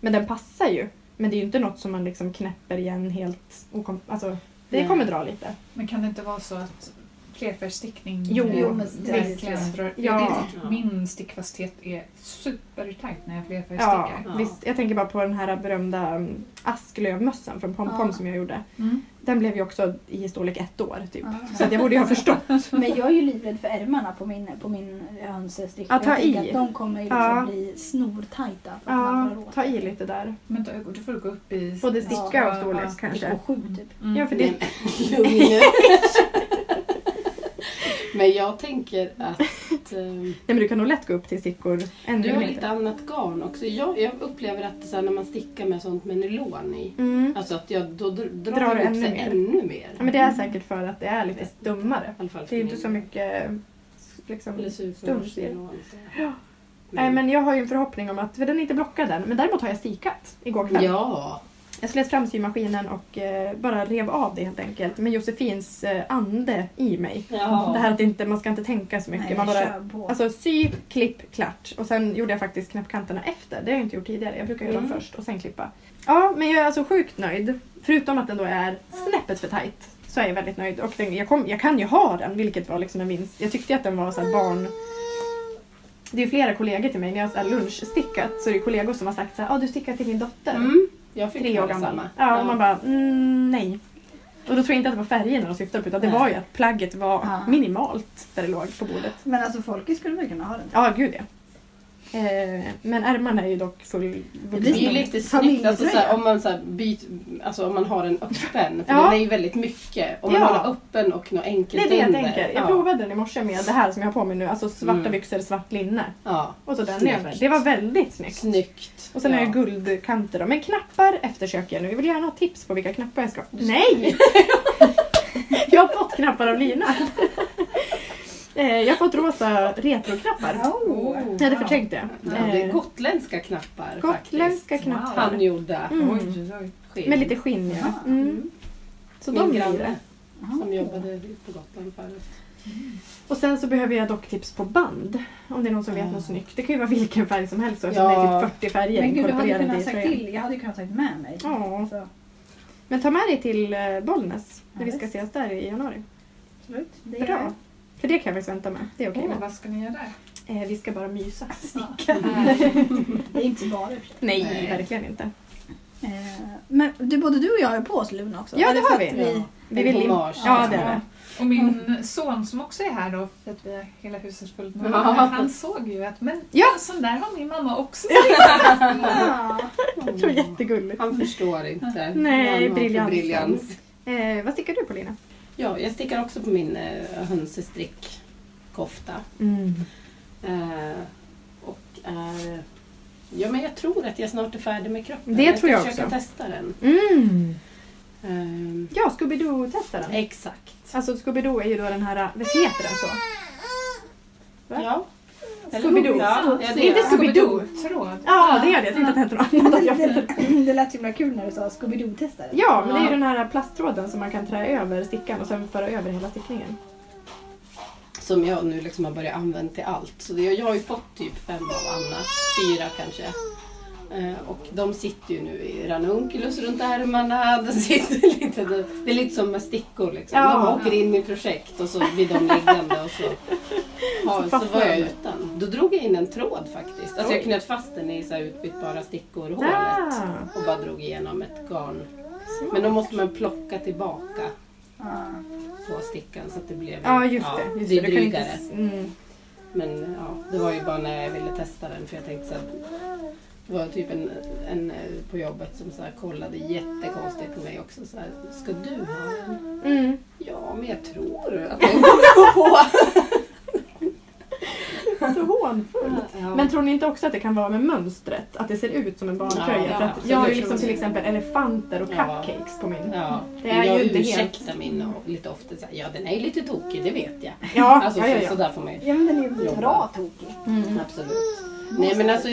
[SPEAKER 3] Men den passar ju. Men det är ju inte något som man liksom knäpper igen helt okom- alltså, Det
[SPEAKER 2] Nej.
[SPEAKER 3] kommer dra lite.
[SPEAKER 1] Men kan det inte vara så att flerfärgstickning
[SPEAKER 3] Jo,
[SPEAKER 1] eh,
[SPEAKER 4] Jo, men det är
[SPEAKER 1] verkligen
[SPEAKER 4] det.
[SPEAKER 1] drar...
[SPEAKER 3] Ja.
[SPEAKER 1] Jag vet att
[SPEAKER 2] Ja.
[SPEAKER 1] min stickfasthet är supertajt när jag
[SPEAKER 3] Ja,
[SPEAKER 1] flerfärgstickar.
[SPEAKER 2] Ja.
[SPEAKER 3] visst. Jag tänker bara på den här berömda mm, asklövmössan från Pom Pom
[SPEAKER 4] Ja.
[SPEAKER 3] som jag gjorde.
[SPEAKER 1] Mm.
[SPEAKER 3] Den blev ju också i storlek ett år typ.
[SPEAKER 4] Ja.
[SPEAKER 3] Så att jag borde ju ha förstått.
[SPEAKER 4] Men jag är ju livrädd för ärmarna på min, på min hönsestick.
[SPEAKER 3] Ja, ta
[SPEAKER 4] jag tänker
[SPEAKER 3] i.
[SPEAKER 4] att de kommer ju liksom
[SPEAKER 3] Ja.
[SPEAKER 4] bli snortajta. för att man
[SPEAKER 3] Ja,
[SPEAKER 4] drar åt.
[SPEAKER 3] ta i lite där.
[SPEAKER 1] Men då, då får du gå upp i...
[SPEAKER 3] Både sticka och storlek
[SPEAKER 1] Ja,
[SPEAKER 4] Det går
[SPEAKER 3] kanske.
[SPEAKER 4] sjukt typ.
[SPEAKER 1] Mm.
[SPEAKER 3] Ja, för det,
[SPEAKER 2] Men, [laughs] lugn. Men jag tänker att ehm,
[SPEAKER 3] Nej, men du kan nog lätt gå upp till stickor ännu
[SPEAKER 2] du har
[SPEAKER 3] mer.
[SPEAKER 2] lite annat garn också. Jag, jag upplever att det så här, när man stickar med sånt med nylon i,
[SPEAKER 3] Mm.
[SPEAKER 2] alltså att jag, då dr- drar,
[SPEAKER 3] Drar
[SPEAKER 2] det upp
[SPEAKER 3] ännu
[SPEAKER 2] sig
[SPEAKER 3] mer.
[SPEAKER 2] ännu mer.
[SPEAKER 3] Ja, men det är säkert för att det är lite dummare.
[SPEAKER 2] I alla fall
[SPEAKER 3] Det är
[SPEAKER 2] för
[SPEAKER 3] inte
[SPEAKER 2] min
[SPEAKER 3] så
[SPEAKER 2] del.
[SPEAKER 3] mycket liksom,
[SPEAKER 2] Eller
[SPEAKER 3] stuns i det.
[SPEAKER 2] superhårsnylon.
[SPEAKER 3] Ja. Nej, men jag har ju en förhoppning om att, för den är inte blockad än, men däremot har jag stikat igår kväll.
[SPEAKER 2] Ja.
[SPEAKER 3] Jag slet fram symaskinen och eh, bara rev av det helt enkelt med Josefins eh, ande i mig.
[SPEAKER 2] ja.
[SPEAKER 3] Det här att inte, man ska inte tänka så mycket.
[SPEAKER 4] Nej,
[SPEAKER 3] man bara,
[SPEAKER 4] kör på.
[SPEAKER 3] alltså sy, klipp, klart. Och sen gjorde jag faktiskt knäppkanterna efter. Det har jag inte gjort tidigare. Jag brukar göra dem
[SPEAKER 2] Mm.
[SPEAKER 3] först och sen klippa. Ja, men jag är alltså sjukt nöjd. Förutom att den då är snäppet för tajt så är jag väldigt nöjd. Och den, jag, kom, jag kan ju ha den, vilket var liksom en vinst. Jag tyckte att den var så här barn... Det är ju flera kollegor till mig, när jag har lunchstickat så är det kollegor som har sagt så här, ah, du stickar till min dotter.
[SPEAKER 2] Mm. Jag fick
[SPEAKER 3] Tre år
[SPEAKER 2] höra
[SPEAKER 3] gammal.
[SPEAKER 2] samma.
[SPEAKER 3] Ja, och man bara, mm, nej. Och då tror jag inte att det var färgerna de syftade på utan det
[SPEAKER 2] Nej.
[SPEAKER 3] var ju att plagget var
[SPEAKER 4] Ja.
[SPEAKER 3] minimalt där det låg på bordet.
[SPEAKER 4] Men alltså folket skulle väl kunna ha den?
[SPEAKER 3] Ja, gud ja. Eh, men ärmarna är ju dock full
[SPEAKER 2] Det blir ju
[SPEAKER 3] vuxna.
[SPEAKER 2] lite snyggt
[SPEAKER 4] Familjetröja.
[SPEAKER 2] alltså, så här, om, man, så här, byt, alltså, om man har den öppen. För
[SPEAKER 3] Ja.
[SPEAKER 2] den är ju väldigt mycket. Om man
[SPEAKER 3] Ja.
[SPEAKER 2] har den öppen och något
[SPEAKER 3] Det
[SPEAKER 2] enkelt
[SPEAKER 3] är det jag
[SPEAKER 2] under.
[SPEAKER 3] tänker. Jag
[SPEAKER 2] ja.
[SPEAKER 3] provade den i morse med det här som jag har på mig nu. Alltså svarta
[SPEAKER 2] Mm.
[SPEAKER 3] byxor, svart linne.
[SPEAKER 2] Ja.
[SPEAKER 3] Och så den
[SPEAKER 2] Snyggt.
[SPEAKER 3] över. Det var väldigt snyggt.
[SPEAKER 2] Snyggt.
[SPEAKER 3] Och sen
[SPEAKER 2] ja.
[SPEAKER 3] har jag guldkanter då. Men knappar eftersöker jag nu. Jag vill gärna ha tips på vilka knappar jag ska Nej! [laughs] jag har fått knappar av Lina.
[SPEAKER 2] [laughs]
[SPEAKER 3] Eh, jag har fått rosa retroknappar.
[SPEAKER 1] Oh,
[SPEAKER 3] Jag hade förträngt det.
[SPEAKER 2] Ja, det är
[SPEAKER 3] Eh,
[SPEAKER 2] gotländska knappar
[SPEAKER 3] Gotländska
[SPEAKER 1] Wow.
[SPEAKER 3] knappar.
[SPEAKER 2] faktiskt. Handgjorda.
[SPEAKER 3] Mm.
[SPEAKER 1] Oj, oj.
[SPEAKER 2] skinn.
[SPEAKER 3] Med lite skinn ja.
[SPEAKER 4] Ja.
[SPEAKER 3] Mm. Så
[SPEAKER 2] Min
[SPEAKER 3] de blir det.
[SPEAKER 2] granne som jobbade på Gotland förut.
[SPEAKER 3] Och sen så behöver jag dock tips på band. Om det är någon som vet
[SPEAKER 2] Ja.
[SPEAKER 3] något snyggt. Det kan ju vara vilken färg som helst. Och
[SPEAKER 2] Ja.
[SPEAKER 3] ja. Det är typ 40 färger
[SPEAKER 4] Mm. Men gud, du hade
[SPEAKER 3] inkorporerade
[SPEAKER 4] kunnat
[SPEAKER 3] i
[SPEAKER 4] sagt
[SPEAKER 3] tröjan.
[SPEAKER 4] till. Jag hade kunnat sagt med mig.
[SPEAKER 3] Ja.
[SPEAKER 4] Så,
[SPEAKER 3] Men ta med dig till eh, Bollnäs. När
[SPEAKER 4] Ja,
[SPEAKER 3] vi ska
[SPEAKER 4] visst.
[SPEAKER 3] ses där i januari.
[SPEAKER 4] absolut. Det
[SPEAKER 3] Bra.
[SPEAKER 4] är
[SPEAKER 3] För det kan jag faktiskt vänta med. Det är okej
[SPEAKER 1] Åh,
[SPEAKER 3] med.
[SPEAKER 1] vad ska ni göra
[SPEAKER 3] [laughs]
[SPEAKER 1] där?
[SPEAKER 3] Eh, vi ska bara mysa.
[SPEAKER 4] det är inte så bara i och för sig.
[SPEAKER 3] Nej,
[SPEAKER 2] Nej.
[SPEAKER 3] verkligen inte.
[SPEAKER 4] Eh, Men du, både du och jag är på oss Luna också.
[SPEAKER 3] Ja,
[SPEAKER 4] Är
[SPEAKER 3] det
[SPEAKER 4] för
[SPEAKER 3] har
[SPEAKER 4] att
[SPEAKER 3] vi.
[SPEAKER 2] Ja.
[SPEAKER 3] Vi
[SPEAKER 2] En
[SPEAKER 3] vill in...
[SPEAKER 2] hommage.
[SPEAKER 3] Ja, det är det.
[SPEAKER 1] Och min son som också är här då, för att vi har hela huset fullt med
[SPEAKER 2] Ja.
[SPEAKER 1] han såg ju att men
[SPEAKER 3] Ja.
[SPEAKER 1] en sån där har min mamma också.
[SPEAKER 4] Ja.
[SPEAKER 3] [laughs] Det var jättegulligt.
[SPEAKER 2] Han förstår inte.
[SPEAKER 3] [laughs] Nej,
[SPEAKER 2] vad han har för
[SPEAKER 3] briljans.
[SPEAKER 2] briljans.
[SPEAKER 3] Eh, vad stickar du på Lina?
[SPEAKER 2] Ja, jag stickar också på min eh, hönsestrickkofta. Eh, och är... Ja, men jag tror att jag snart är färdig med kroppen.
[SPEAKER 3] Det tror jag
[SPEAKER 2] ska försöka
[SPEAKER 3] också.
[SPEAKER 2] testa den.
[SPEAKER 3] Mm.
[SPEAKER 2] Eh,
[SPEAKER 3] Ja, Scooby-Doo-testaren.
[SPEAKER 2] exakt.
[SPEAKER 3] Alltså Scooby-Doo är ju då den här, visst heter den så? Va?
[SPEAKER 2] Ja. Eller-
[SPEAKER 3] Scooby-Doo.
[SPEAKER 2] Ja, ja, det
[SPEAKER 3] Inte
[SPEAKER 2] är
[SPEAKER 3] Scooby-Doo.
[SPEAKER 1] Tråd.
[SPEAKER 3] Ja, det är det. Jag tänkte att det hette något annat. Jag vet inte.
[SPEAKER 4] [laughs] Det, det lät så himla kul när du sa Scooby-Doo-testare.
[SPEAKER 3] Ja, men det är ju
[SPEAKER 2] Ja.
[SPEAKER 3] den här plasttråden som man kan trä över stickan och sen föra över hela stickningen.
[SPEAKER 2] Som jag nu liksom har börjat använda till allt. Så det, jag har ju fått typ fem av Anna. Fyra kanske. Eh, och de sitter ju nu i ranunculus runt ärmarna. [laughs] Det, sitter lite, det är lite som med stickor liksom.
[SPEAKER 3] Ja.
[SPEAKER 2] De åker in i projekt och så blir de liggande och så, ja, så
[SPEAKER 3] fastnar
[SPEAKER 2] var jag
[SPEAKER 3] de.
[SPEAKER 2] utan. Då drog jag in en tråd faktiskt. Alltså
[SPEAKER 3] Oj.
[SPEAKER 2] jag knöt fast den i så här utbytbara stickor hålet.
[SPEAKER 3] Ah.
[SPEAKER 2] Och bara drog igenom ett garn. Men då måste man plocka tillbaka
[SPEAKER 4] Ja.
[SPEAKER 2] på stickan så att det blev
[SPEAKER 3] Ja, just det. Just det. Du kan inte...
[SPEAKER 2] drygare.
[SPEAKER 3] s- Mm.
[SPEAKER 2] Men ja, det var ju bara när jag ville testa den för jag tänkte så här, det var typ en, en eh, på jobbet som så här kollade jättekonstigt på mig också. Så här, Ska du ha en?
[SPEAKER 3] Mm.
[SPEAKER 2] Ja, men jag tror att jag kommer gå på.
[SPEAKER 3] Så hånfull.
[SPEAKER 2] Ja.
[SPEAKER 3] Men tror ni inte också att det kan vara med mönstret? Att det ser ut som en barntröja?
[SPEAKER 2] Ja,
[SPEAKER 3] för att
[SPEAKER 2] absolut.
[SPEAKER 3] jag har ju liksom till exempel elefanter och
[SPEAKER 2] Ja.
[SPEAKER 3] cupcakes på min.
[SPEAKER 2] ja.
[SPEAKER 3] Det är
[SPEAKER 2] jag
[SPEAKER 3] ju inte helt-
[SPEAKER 2] ursäktar min och lite ofta så här, ja den är ju lite tokig, det vet jag.
[SPEAKER 3] Ja,
[SPEAKER 2] Alltså
[SPEAKER 3] ja,
[SPEAKER 2] så,
[SPEAKER 3] ja,
[SPEAKER 2] så
[SPEAKER 3] ja.
[SPEAKER 2] där får man ju.
[SPEAKER 4] Ja men den är ju
[SPEAKER 2] Jobba.
[SPEAKER 4] bra tokig.
[SPEAKER 3] Mm.
[SPEAKER 2] Absolut. Nej men alltså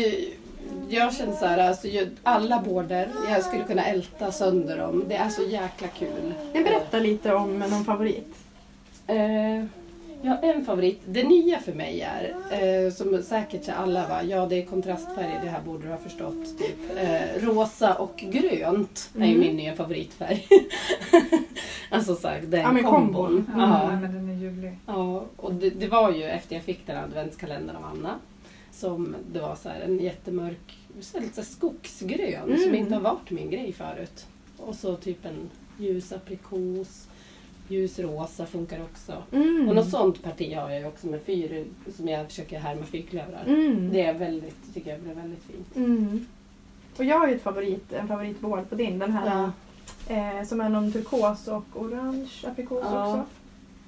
[SPEAKER 2] jag känner så här, alltså, ju- alla border, jag skulle kunna älta sönder dem. Det är så jäkla kul.
[SPEAKER 3] Men berätta lite om någon favorit.
[SPEAKER 2] Eh, jag har en favorit. Det nya för mig är, eh, som säkert så alla va, ja det är kontrastfärger, det här borde du ha förstått. Typ. Eh, rosa och grönt är ju
[SPEAKER 3] Mm.
[SPEAKER 2] min nya favoritfärg. [laughs] alltså så här, den
[SPEAKER 3] Ja, men Mm.
[SPEAKER 2] kombon.
[SPEAKER 1] Ja,
[SPEAKER 2] Ja.
[SPEAKER 1] nej, men den är ljuvlig.
[SPEAKER 2] Ja, och det, det var ju efter jag fick den här adventskalendern av Anna som det var så här en jättemörk, så här lite så här skogsgrön som
[SPEAKER 3] Mm.
[SPEAKER 2] inte har varit min grej förut. Och så typ en ljus aprikos, ljus rosa funkar också.
[SPEAKER 3] Mm.
[SPEAKER 2] Och något sånt parti har jag ju också med fyr som jag försöker härma fyrklövrar.
[SPEAKER 3] Mm.
[SPEAKER 2] Det är väldigt, tycker jag blir väldigt fint.
[SPEAKER 3] Mm. Och jag har ju ett favorit, en favoritvård på din. Den här eh, som är någon turkos och orange aprikos
[SPEAKER 2] Ja.
[SPEAKER 3] också.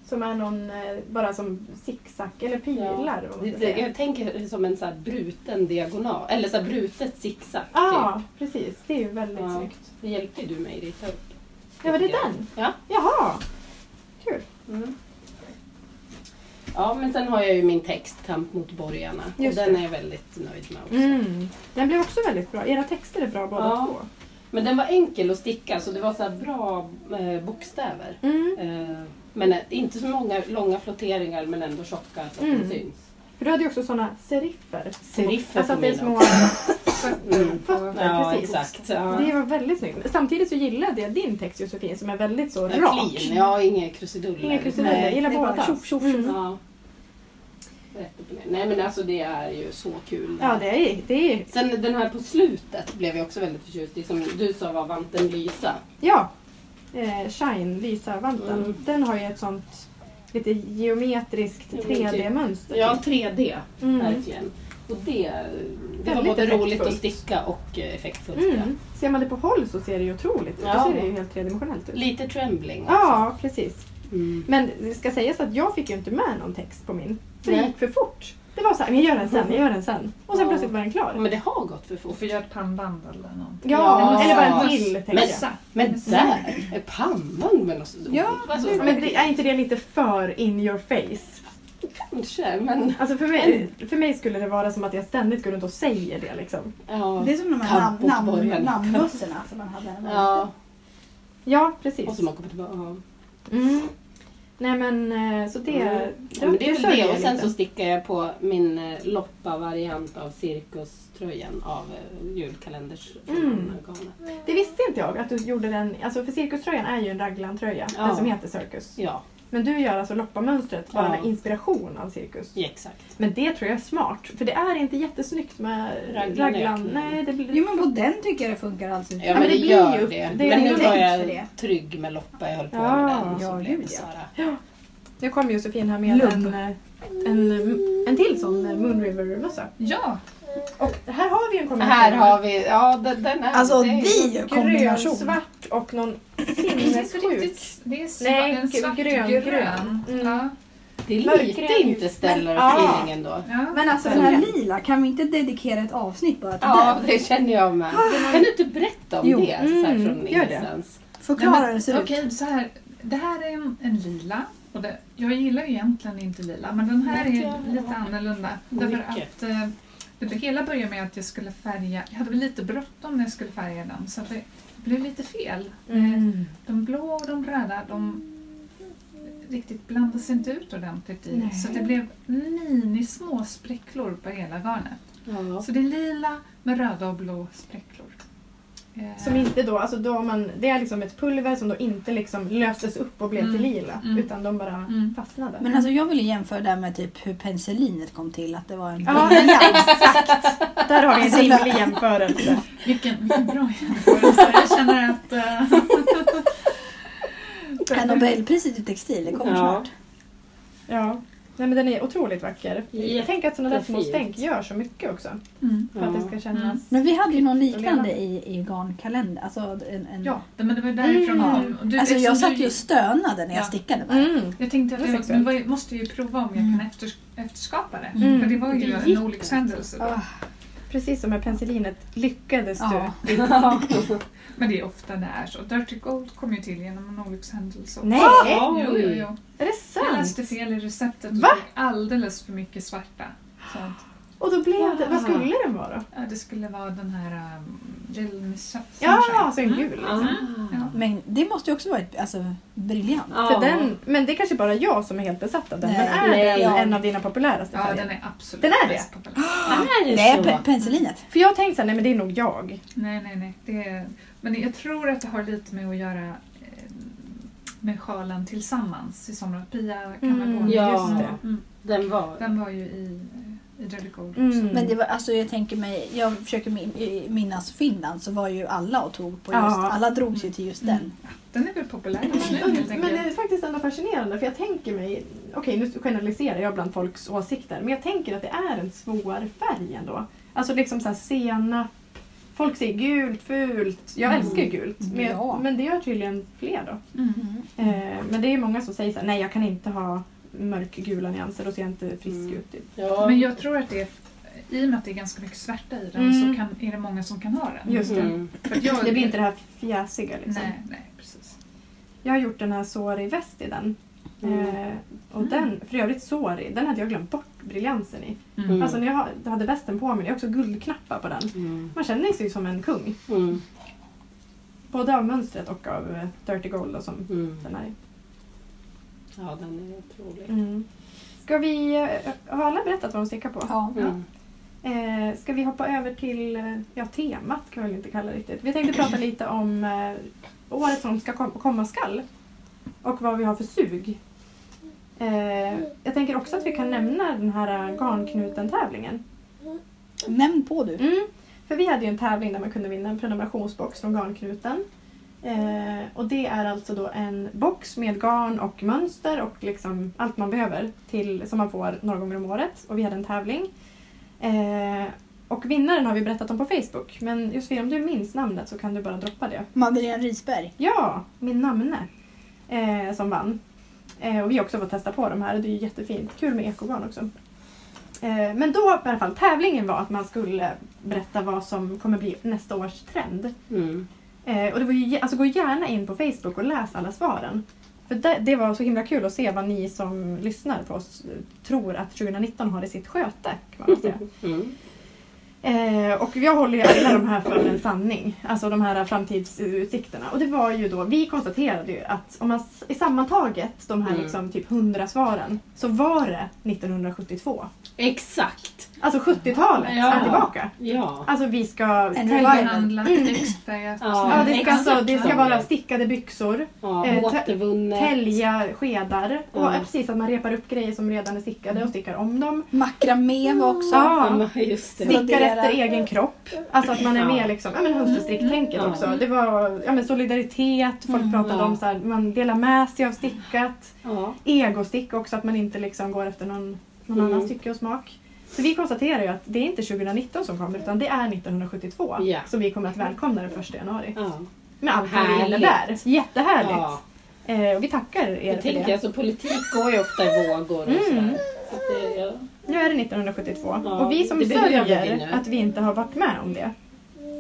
[SPEAKER 3] Som är någon, eh, bara som zigzag eller pilar. vad man
[SPEAKER 2] Det,
[SPEAKER 3] ska
[SPEAKER 2] det,
[SPEAKER 3] säga.
[SPEAKER 2] jag tänker som en så här bruten diagonal, eller så här brutet zigzag.
[SPEAKER 3] Ja,
[SPEAKER 2] Typ.
[SPEAKER 3] precis. Det är ju väldigt
[SPEAKER 2] Ja.
[SPEAKER 3] snyggt.
[SPEAKER 2] Det hjälpte ju du mig rita upp.
[SPEAKER 3] Ja, var det den?
[SPEAKER 2] Ja.
[SPEAKER 3] Jaha! Kul.
[SPEAKER 2] Mm. Ja, men sen har jag ju min text, Kamp mot borgarna.
[SPEAKER 3] Just
[SPEAKER 2] och den
[SPEAKER 3] det.
[SPEAKER 2] är jag väldigt nöjd med också.
[SPEAKER 3] Mm. Den blev också väldigt bra. Era texter är bra båda
[SPEAKER 2] Ja.
[SPEAKER 3] två.
[SPEAKER 2] Men den var enkel att sticka, så det var så här bra eh, bokstäver.
[SPEAKER 3] Mm.
[SPEAKER 2] Eh, men eh, inte så många långa flotteringar, men ändå tjocka så att
[SPEAKER 3] Mm.
[SPEAKER 2] de syns.
[SPEAKER 3] För du hade ju också sådana seriffer.
[SPEAKER 2] Seriffer
[SPEAKER 3] Alltså
[SPEAKER 2] på
[SPEAKER 3] att det är
[SPEAKER 2] mina
[SPEAKER 3] små
[SPEAKER 2] också.
[SPEAKER 1] Fötter på-
[SPEAKER 2] Mm. Ja,
[SPEAKER 3] precis.
[SPEAKER 2] exakt. Ja.
[SPEAKER 3] Det var väldigt snyggt. Samtidigt så gillade jag din text Josefin som är väldigt så
[SPEAKER 2] Eh,
[SPEAKER 3] rak.
[SPEAKER 2] Clean, ja, inga krusiduller.
[SPEAKER 3] Inga krusiduller. Jag
[SPEAKER 2] Nej.
[SPEAKER 3] gillar
[SPEAKER 4] Det är bara
[SPEAKER 3] båda.
[SPEAKER 4] tjoff, tjoff,
[SPEAKER 3] Mm.
[SPEAKER 2] Ja. Rätt upp och ner. Nej, men alltså det är ju så kul.
[SPEAKER 3] Ja, det är, det är
[SPEAKER 2] Sen den här på slutet blev jag också väldigt förtjust i, som du sa var vanten Lysa.
[SPEAKER 3] Ja. Eh, Shine, Lysa-vanten.
[SPEAKER 2] Mm.
[SPEAKER 3] Den har ju ett sånt lite geometriskt
[SPEAKER 2] Ja, men typ.
[SPEAKER 3] 3D-mönster.
[SPEAKER 2] Ja, 3D,
[SPEAKER 3] Mm.
[SPEAKER 2] verkligen. Och det, det var
[SPEAKER 3] Väldigt
[SPEAKER 2] både roligt att
[SPEAKER 3] effektfullt.
[SPEAKER 2] sticka och eh, effektfullt. ja.
[SPEAKER 3] Mm. Ser man det på håll så ser det ju otroligt ut.
[SPEAKER 2] Ja.
[SPEAKER 3] Då ser det ju helt tredimensionellt ut.
[SPEAKER 2] Lite trembling också.
[SPEAKER 3] Ja, precis.
[SPEAKER 2] Mm.
[SPEAKER 3] Men det ska sägas att jag fick ju inte med någon text på min. För det
[SPEAKER 2] Nej.
[SPEAKER 3] gick för fort. Det var så här, jag gör den sen, jag gör den sen. Och sen
[SPEAKER 2] Ja.
[SPEAKER 3] plötsligt var den
[SPEAKER 2] Ja,
[SPEAKER 3] klar.
[SPEAKER 2] Men det har gått för
[SPEAKER 1] Du
[SPEAKER 2] fort.
[SPEAKER 1] får göra ett pannband eller någonting. Mm.
[SPEAKER 3] Ja,
[SPEAKER 2] Ja.
[SPEAKER 3] eller bara en till
[SPEAKER 2] Men-
[SPEAKER 3] text.
[SPEAKER 1] Messa.
[SPEAKER 2] Men där! Är pannband med något sånt?
[SPEAKER 4] Ja,
[SPEAKER 2] alltså,
[SPEAKER 3] Men, men Mm. det, är inte det lite för in your face?
[SPEAKER 2] kanske. Men
[SPEAKER 3] Alltså för mig,
[SPEAKER 2] Mm.
[SPEAKER 3] för mig skulle det vara som att jag ständigt går runt och säger det liksom.
[SPEAKER 2] ja.
[SPEAKER 4] Det är som de här
[SPEAKER 2] Kamp
[SPEAKER 4] namn,
[SPEAKER 2] mot
[SPEAKER 4] namn,
[SPEAKER 2] borgen.
[SPEAKER 4] namnbössorna som man hade. när man-
[SPEAKER 2] ja.
[SPEAKER 3] Ja,
[SPEAKER 2] Och
[SPEAKER 3] precis.
[SPEAKER 2] så man kommer tillbaka. Ja.
[SPEAKER 3] Mm. Nej men eh, så det...
[SPEAKER 2] Mm.
[SPEAKER 3] det-
[SPEAKER 2] Ja, men det är väl
[SPEAKER 3] sörjer
[SPEAKER 2] det.
[SPEAKER 3] jag
[SPEAKER 2] Och sen
[SPEAKER 3] lite.
[SPEAKER 2] så stickar jag på min eh, Loppa-variant av cirkuströjan av eh, julkalenders
[SPEAKER 3] Mm.
[SPEAKER 2] organet.
[SPEAKER 3] Det visste inte jag att du gjorde den. Alltså för cirkuströjan är ju en raglantröja.
[SPEAKER 2] Ja.
[SPEAKER 3] Den som heter Cirkus.
[SPEAKER 2] Ja,
[SPEAKER 3] Men du gör alltså loppamönstret bara
[SPEAKER 2] Ja.
[SPEAKER 3] med inspiration av cirkus.
[SPEAKER 2] ja, exakt.
[SPEAKER 3] Men det tror jag är smart. För det är inte jättesnyggt med
[SPEAKER 2] Raglan-
[SPEAKER 3] raglan. Nej, det blir...
[SPEAKER 4] Jo men på den tycker jag det funkar alldeles
[SPEAKER 2] Ja,
[SPEAKER 4] utmärkt.
[SPEAKER 2] men, det,
[SPEAKER 3] men det blir
[SPEAKER 2] gör
[SPEAKER 3] ju-
[SPEAKER 2] det.
[SPEAKER 3] det är
[SPEAKER 2] Men
[SPEAKER 4] ju
[SPEAKER 2] nu var
[SPEAKER 4] tänkt för det.
[SPEAKER 2] jag trygg med Loppa. Jag höll på med
[SPEAKER 3] Ja,
[SPEAKER 2] den. och Så
[SPEAKER 4] ja,
[SPEAKER 2] blev
[SPEAKER 4] gud,
[SPEAKER 2] det
[SPEAKER 4] ja.
[SPEAKER 2] Sara.
[SPEAKER 3] Nu kom Josefin här med
[SPEAKER 4] Lubb.
[SPEAKER 3] en, eh, en, en till sån eh, Moon River-mössa.
[SPEAKER 1] Ja,
[SPEAKER 3] Och här har vi en kombination.
[SPEAKER 2] Här har vi... Ja, den, den är...
[SPEAKER 4] Alltså
[SPEAKER 2] det är-
[SPEAKER 4] vi
[SPEAKER 3] Grön,
[SPEAKER 4] kombination.
[SPEAKER 3] svart och någon
[SPEAKER 1] det är inte
[SPEAKER 3] sinnessjuk.
[SPEAKER 1] riktigt... Det är sva-
[SPEAKER 3] Nej,
[SPEAKER 1] en
[SPEAKER 3] gr-
[SPEAKER 1] svart
[SPEAKER 3] grön,
[SPEAKER 1] grön.
[SPEAKER 3] grön. Mm.
[SPEAKER 1] Ja.
[SPEAKER 2] Det är
[SPEAKER 3] mörkgrön
[SPEAKER 2] lite
[SPEAKER 3] ljus.
[SPEAKER 2] inte ställer
[SPEAKER 3] Men- ja.
[SPEAKER 2] feelingen då.
[SPEAKER 1] Ja.
[SPEAKER 4] Men alltså den här lila, kan vi inte dedikera ett avsnitt bara till
[SPEAKER 2] Ja,
[SPEAKER 4] den?
[SPEAKER 2] det känner jag med. Kan du inte berätta om
[SPEAKER 4] Jo.
[SPEAKER 2] det? Så här,
[SPEAKER 3] Mm,
[SPEAKER 2] från
[SPEAKER 3] gör det.
[SPEAKER 2] ingenstans.
[SPEAKER 1] Nej,
[SPEAKER 4] Förklara
[SPEAKER 1] men
[SPEAKER 4] hur den ser ut.
[SPEAKER 1] Okej, så här. Det här är en, en lila. Och det, jag gillar ju egentligen inte lila, men den här
[SPEAKER 2] Nej,
[SPEAKER 1] är
[SPEAKER 2] jag-
[SPEAKER 1] lite annorlunda. Därför
[SPEAKER 2] Mycket.
[SPEAKER 1] att eh, det hela började med att jag skulle färga... Jag hade väl lite bråttom när jag skulle färga den, så att det blev lite fel.
[SPEAKER 2] Mm.
[SPEAKER 1] Eh, De blå och de röda, de riktigt blandas inte ut ordentligt i.
[SPEAKER 3] Nej.
[SPEAKER 1] Så det blev mini-små spräcklor på hela garnet.
[SPEAKER 2] Ja.
[SPEAKER 1] Så det är lila med röda och blå spräcklor. Eh,
[SPEAKER 3] Som inte då, alltså då har man, det är liksom ett pulver som då inte liksom löstes upp och blev
[SPEAKER 1] Mm.
[SPEAKER 3] till lila.
[SPEAKER 1] Mm.
[SPEAKER 3] Utan de bara
[SPEAKER 1] Mm.
[SPEAKER 3] fastnade.
[SPEAKER 4] Men alltså jag vill ju jämföra det här med typ hur penicillinet kom till. Att det var en
[SPEAKER 3] Ja, exakt. Där har vi en rimlig jämförelse.
[SPEAKER 1] Vilken, vilken bra jämförelse. Jag känner att... eh,
[SPEAKER 4] Ja, Nobelpriset i textil, det kommer
[SPEAKER 2] Ja.
[SPEAKER 4] snart.
[SPEAKER 3] Ja. Nej, men den är otroligt vacker. Jag tänker att sådana där små
[SPEAKER 2] Jättefint.
[SPEAKER 3] stänk gör så mycket också.
[SPEAKER 1] Mm.
[SPEAKER 3] För att det ska kännas...
[SPEAKER 4] Men vi hade ju någon liknande
[SPEAKER 3] Lena.
[SPEAKER 4] i, i garnkalender. Alltså, en, en...
[SPEAKER 1] Ja, men det var därifrån
[SPEAKER 4] Mm.
[SPEAKER 1] det kom. Du,
[SPEAKER 4] alltså
[SPEAKER 1] eftersom
[SPEAKER 4] jag satt
[SPEAKER 1] du-
[SPEAKER 4] ju och stönade när
[SPEAKER 1] Ja.
[SPEAKER 4] jag stickade med den.
[SPEAKER 3] Mm.
[SPEAKER 1] Jag tänkte att
[SPEAKER 3] Det var
[SPEAKER 1] jag,
[SPEAKER 3] sexuellt.
[SPEAKER 1] nu var jag- måste ju prova om jag
[SPEAKER 4] Mm.
[SPEAKER 1] kan efter, efterskapa det.
[SPEAKER 4] Mm.
[SPEAKER 1] För det var ju
[SPEAKER 2] Det gick
[SPEAKER 1] en olyckshändelse. Då.
[SPEAKER 4] Ah.
[SPEAKER 3] Precis som med penicillinet lyckades
[SPEAKER 4] Ja.
[SPEAKER 3] du.
[SPEAKER 1] Men det är ofta det är så. Dirty Gold kom ju till genom en olyckshändelse.
[SPEAKER 3] Nej!
[SPEAKER 1] Jo, jo, jo.
[SPEAKER 3] Är det
[SPEAKER 1] Jag
[SPEAKER 3] sant?
[SPEAKER 1] läste fel i receptet och
[SPEAKER 3] Va?
[SPEAKER 1] fick alldeles för mycket svarta. Så att,
[SPEAKER 3] Och då blev det... Vad
[SPEAKER 2] Ah.
[SPEAKER 3] skulle den vara då?
[SPEAKER 1] ja, det skulle vara den här um, Jill Miss Sunshine.
[SPEAKER 3] Ja, så en gul.
[SPEAKER 2] Ah.
[SPEAKER 3] Liksom.
[SPEAKER 1] Ja.
[SPEAKER 4] Men det måste ju också varit alltså, briljant.
[SPEAKER 2] Ja.
[SPEAKER 3] För den, men det är kanske bara jag som är helt besatt av den.
[SPEAKER 4] Nej.
[SPEAKER 3] men är
[SPEAKER 2] Nej.
[SPEAKER 3] den en av dina populäraste
[SPEAKER 1] ja,
[SPEAKER 3] färger?
[SPEAKER 1] den är absolut
[SPEAKER 3] Den är det?
[SPEAKER 1] mest populär.
[SPEAKER 2] Är det
[SPEAKER 4] Nej,
[SPEAKER 2] så?
[SPEAKER 4] pe- penicillinet.
[SPEAKER 3] För jag tänkte såhär, nej men det är nog jag.
[SPEAKER 1] Nej, nej, nej. Det är, men jag tror att det har lite med att göra eh, med sjalen tillsammans i somras. Pia Kammargården.
[SPEAKER 3] Mm,
[SPEAKER 2] Ja.
[SPEAKER 3] just det.
[SPEAKER 1] Mm.
[SPEAKER 2] Den var...
[SPEAKER 1] Den var ju i, eh, i Dirty Gold
[SPEAKER 3] Mm.
[SPEAKER 1] också.
[SPEAKER 4] Men det var, alltså, jag tänker mig, jag försöker min- minnas Finland så var ju alla och tog på just,
[SPEAKER 3] Ja.
[SPEAKER 4] alla drogs ju till just
[SPEAKER 1] Mm.
[SPEAKER 4] den.
[SPEAKER 1] Den är väl populär just nu helt
[SPEAKER 3] Mm. Men, men det
[SPEAKER 1] enkelt.
[SPEAKER 3] är faktiskt ändå fascinerande för jag tänker mig, okej nu generaliserar jag bland folks åsikter, men jag tänker att det är en svår färg ändå. Alltså liksom såhär senap, folk säger gult, fult, jag
[SPEAKER 1] Mm.
[SPEAKER 3] älskar ju gult. Men,
[SPEAKER 4] Ja.
[SPEAKER 3] men det gör tydligen fler då.
[SPEAKER 1] Mm.
[SPEAKER 3] Eh, men det är många som säger såhär, nej jag kan inte ha mörkgula nyanser, då ser jag inte frisk
[SPEAKER 2] Mm.
[SPEAKER 3] ut. Typ.
[SPEAKER 2] Ja.
[SPEAKER 1] Men jag tror att det är, i och med att det är ganska mycket svärta i den
[SPEAKER 3] Mm.
[SPEAKER 1] så kan, är det många som kan ha den.
[SPEAKER 3] Just det.
[SPEAKER 2] Mm.
[SPEAKER 1] För att jag,
[SPEAKER 3] Det blir inte det här fjäsiga liksom.
[SPEAKER 1] Nej, nej, precis.
[SPEAKER 3] Jag har gjort den här Sori väst i den.
[SPEAKER 2] Mm.
[SPEAKER 3] Eh, och
[SPEAKER 1] Mm.
[SPEAKER 3] den, för övrigt Sori, den hade jag glömt bort briljansen i.
[SPEAKER 1] Mm.
[SPEAKER 3] Alltså när jag ha- hade västen på mig, jag har också guldknappar på den.
[SPEAKER 2] Mm.
[SPEAKER 3] Man känner sig ju som en kung.
[SPEAKER 2] Mm.
[SPEAKER 3] Både av mönstret och av eh, Dirty Gold då, som
[SPEAKER 2] Mm.
[SPEAKER 3] den är.
[SPEAKER 2] Ja, den är otrolig.
[SPEAKER 3] Mm. Ska vi, eh, har alla berättat vad de stickar på?
[SPEAKER 4] Ja.
[SPEAKER 2] Mm.
[SPEAKER 3] Eh, ska vi hoppa över till, eh, ja temat kan vi väl inte kalla det riktigt. Vi tänkte prata lite om eh, året som ska kom, komma skall. Och vad vi har för sug. Eh, jag tänker också att vi kan nämna den här eh, garnknuten-tävlingen.
[SPEAKER 4] Nämn på du.
[SPEAKER 3] Mm. För vi hade ju en tävling där man kunde vinna en prenumerationsbox från Garnknuten. Eh, och det är alltså då en box med garn och mönster och liksom allt man behöver till, som man får några gånger om året. Och vi hade en tävling. Eh, och vinnaren har vi berättat om på Facebook. Men Josefin, om du minns namnet så kan du bara droppa det.
[SPEAKER 4] Madeleine Risberg.
[SPEAKER 3] Ja, min namne eh, som vann. Eh, och vi har också fått testa på de här och det är ju jättefint. Kul med ekobarn också. Eh, men då i alla fall, tävlingen var att man skulle berätta vad som kommer bli nästa års trend.
[SPEAKER 2] Mm.
[SPEAKER 3] Eh, och det var ju, ge- alltså gå gärna in på Facebook och läs alla svaren. För det, det var så himla kul att se vad ni som lyssnar på oss eh, tror att 2019 har i sitt sköte. Kan man säga.
[SPEAKER 2] Mm.
[SPEAKER 3] Eh, och jag håller ju alla de här för en sanning. Alltså de här framtidsutsikterna. Och det var ju då, vi konstaterade ju att om man s- i sammantaget de här
[SPEAKER 2] Mm.
[SPEAKER 3] liksom typ 100 svaren så var det 1972.
[SPEAKER 2] Exakt!
[SPEAKER 3] Alltså 70-talet
[SPEAKER 2] Ja.
[SPEAKER 3] är tillbaka.
[SPEAKER 2] Ja.
[SPEAKER 3] Alltså vi ska...
[SPEAKER 4] En
[SPEAKER 1] Tillhandlat, textfärgat.
[SPEAKER 2] Ja,
[SPEAKER 3] Mm. Ja, det ska,
[SPEAKER 2] Exakt.
[SPEAKER 3] alltså, det ska vara stickade byxor.
[SPEAKER 2] ja
[SPEAKER 3] Eh, tä-
[SPEAKER 2] återvunnet.
[SPEAKER 3] Tälja skedar. Och
[SPEAKER 2] Ja.
[SPEAKER 3] ja, precis, att man repar upp grejer som redan är stickade och stickar om dem.
[SPEAKER 4] Makramé var också.
[SPEAKER 3] Ja.
[SPEAKER 2] Ja, [laughs] just det.
[SPEAKER 3] Stickar
[SPEAKER 4] Radera.
[SPEAKER 3] efter egen kropp. Alltså att man är
[SPEAKER 2] Ja.
[SPEAKER 3] med liksom, ja men hönsterstricktänket
[SPEAKER 2] Mm.
[SPEAKER 3] också. Det var ja, men solidaritet, folk
[SPEAKER 1] Mm.
[SPEAKER 3] pratade
[SPEAKER 2] Ja.
[SPEAKER 3] om så här, man delar med sig av stickat.
[SPEAKER 2] Ja.
[SPEAKER 3] Egostick också, att man inte liksom går efter någon, någon
[SPEAKER 2] Mm.
[SPEAKER 3] annans tycke och smak. Så vi konstaterar ju att det är inte 2019 som kommer utan det är 1972
[SPEAKER 2] Ja.
[SPEAKER 3] som vi kommer att välkomna den 1 januari.
[SPEAKER 2] Ja.
[SPEAKER 3] Med allt vad det
[SPEAKER 2] Härligt.
[SPEAKER 3] innebär. Jättehärligt!
[SPEAKER 2] Ja.
[SPEAKER 3] Eh, och vi tackar er
[SPEAKER 2] Jag
[SPEAKER 3] för
[SPEAKER 2] tänker,
[SPEAKER 3] det.
[SPEAKER 2] alltså, politik går ju ofta i vågor och
[SPEAKER 3] Mm.
[SPEAKER 2] sådär. Så att det, ja.
[SPEAKER 3] Nu är det 1972
[SPEAKER 2] Ja,
[SPEAKER 3] och vi som
[SPEAKER 2] det behöver vi
[SPEAKER 3] sörjer
[SPEAKER 2] nu.
[SPEAKER 3] att vi inte har varit med om det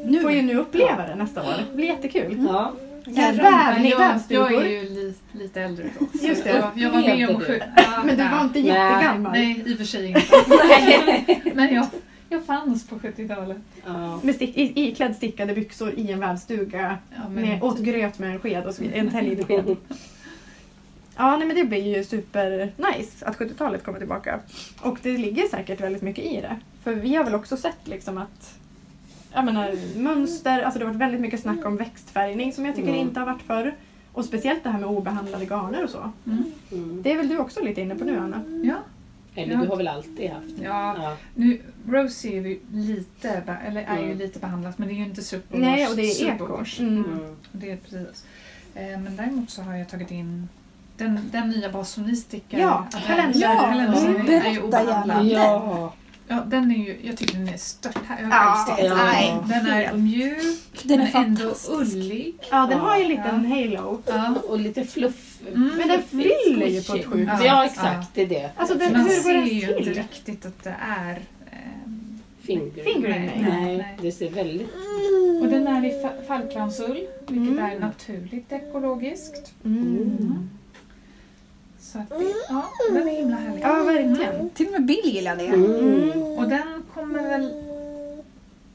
[SPEAKER 4] Nu.
[SPEAKER 3] får ju nu uppleva det nästa år. Det blir jättekul.
[SPEAKER 2] ja.
[SPEAKER 3] Ja,
[SPEAKER 1] Jag-
[SPEAKER 3] vävning,
[SPEAKER 1] jag, jag är
[SPEAKER 3] vävstugor.
[SPEAKER 1] ju lite, lite äldre då. så
[SPEAKER 3] Just det.
[SPEAKER 1] Jag, jag var med om
[SPEAKER 2] Levde du?
[SPEAKER 1] sju. Ja,
[SPEAKER 3] Men du
[SPEAKER 1] nej.
[SPEAKER 3] var inte
[SPEAKER 2] Nej.
[SPEAKER 3] jättegammal.
[SPEAKER 1] Nej, i och för sig inte. Men jag, jag fanns på 70-talet.
[SPEAKER 2] ja.
[SPEAKER 3] Med stick, i, iklädd stickade byxor i en vävstuga
[SPEAKER 1] Ja, men-
[SPEAKER 3] med, åt gröt med en sked och så vidare, en täljesked.
[SPEAKER 2] [laughs]
[SPEAKER 3] Ja, nej, men det blir ju super nice att 70-talet kommer tillbaka. Och det ligger säkert väldigt mycket i det. För vi har väl också sett liksom att jag menar, mönster, alltså det har varit väldigt mycket snack om växtfärgning som jag tycker
[SPEAKER 2] Mm.
[SPEAKER 3] inte har varit förr. Och speciellt det här med obehandlade garner och så.
[SPEAKER 1] Mm.
[SPEAKER 2] Mm.
[SPEAKER 3] Det är väl du också lite inne på nu Anna?
[SPEAKER 1] Ja.
[SPEAKER 2] Eller du har väl alltid haft?
[SPEAKER 1] ja,
[SPEAKER 2] Ja.
[SPEAKER 1] nu, Rosie är ju lite, be- eller är ju
[SPEAKER 2] Mm.
[SPEAKER 1] lite behandlat men det är ju inte superwash.
[SPEAKER 3] Nej, och det är
[SPEAKER 1] superwash.
[SPEAKER 3] ekors. Mm.
[SPEAKER 2] Mm.
[SPEAKER 1] Det är precis. Eh, Men däremot så har jag tagit in den, den nya bas som ni stickar.
[SPEAKER 3] Ja,
[SPEAKER 1] Advent-
[SPEAKER 3] kalender.
[SPEAKER 4] Ja,
[SPEAKER 1] kalendern
[SPEAKER 2] mm,
[SPEAKER 1] är ju
[SPEAKER 4] berätta
[SPEAKER 1] obehandlad.
[SPEAKER 4] gärna.
[SPEAKER 2] Ja.
[SPEAKER 1] Ja, den är ju, jag tycker den är stört här. Jag
[SPEAKER 3] Ja,
[SPEAKER 1] har själv stickat.
[SPEAKER 2] nej,
[SPEAKER 1] Den är
[SPEAKER 3] helt.
[SPEAKER 1] mjuk,
[SPEAKER 4] Den är
[SPEAKER 1] men ändå
[SPEAKER 4] fantastisk.
[SPEAKER 1] ullig.
[SPEAKER 3] Ja,
[SPEAKER 2] Ja.
[SPEAKER 3] den har ju en liten halo.
[SPEAKER 1] Ja.
[SPEAKER 2] Och lite fluff.
[SPEAKER 1] Mm.
[SPEAKER 3] Men den fyller ju på ett sjukt
[SPEAKER 2] Ja,
[SPEAKER 1] Ja.
[SPEAKER 2] ja exakt. Det är det.
[SPEAKER 3] Alltså den,
[SPEAKER 1] Man
[SPEAKER 3] hur går
[SPEAKER 1] ser
[SPEAKER 3] den
[SPEAKER 1] ju inte
[SPEAKER 3] till?
[SPEAKER 1] riktigt att det är... ehm,
[SPEAKER 2] Finger.
[SPEAKER 3] Finger.
[SPEAKER 1] nej,
[SPEAKER 2] Nej,
[SPEAKER 1] nej.
[SPEAKER 2] det ser väldigt...
[SPEAKER 1] Och den är i fa- fallklansull, vilket
[SPEAKER 3] Mm.
[SPEAKER 1] är naturligt ekologiskt.
[SPEAKER 3] Mm.
[SPEAKER 1] Så att det, ja, den är himla härlig.
[SPEAKER 3] Ja, verkligen.
[SPEAKER 1] Mm.
[SPEAKER 4] Till och med Bill gillade det.
[SPEAKER 2] Mm.
[SPEAKER 1] Och den kommer väl...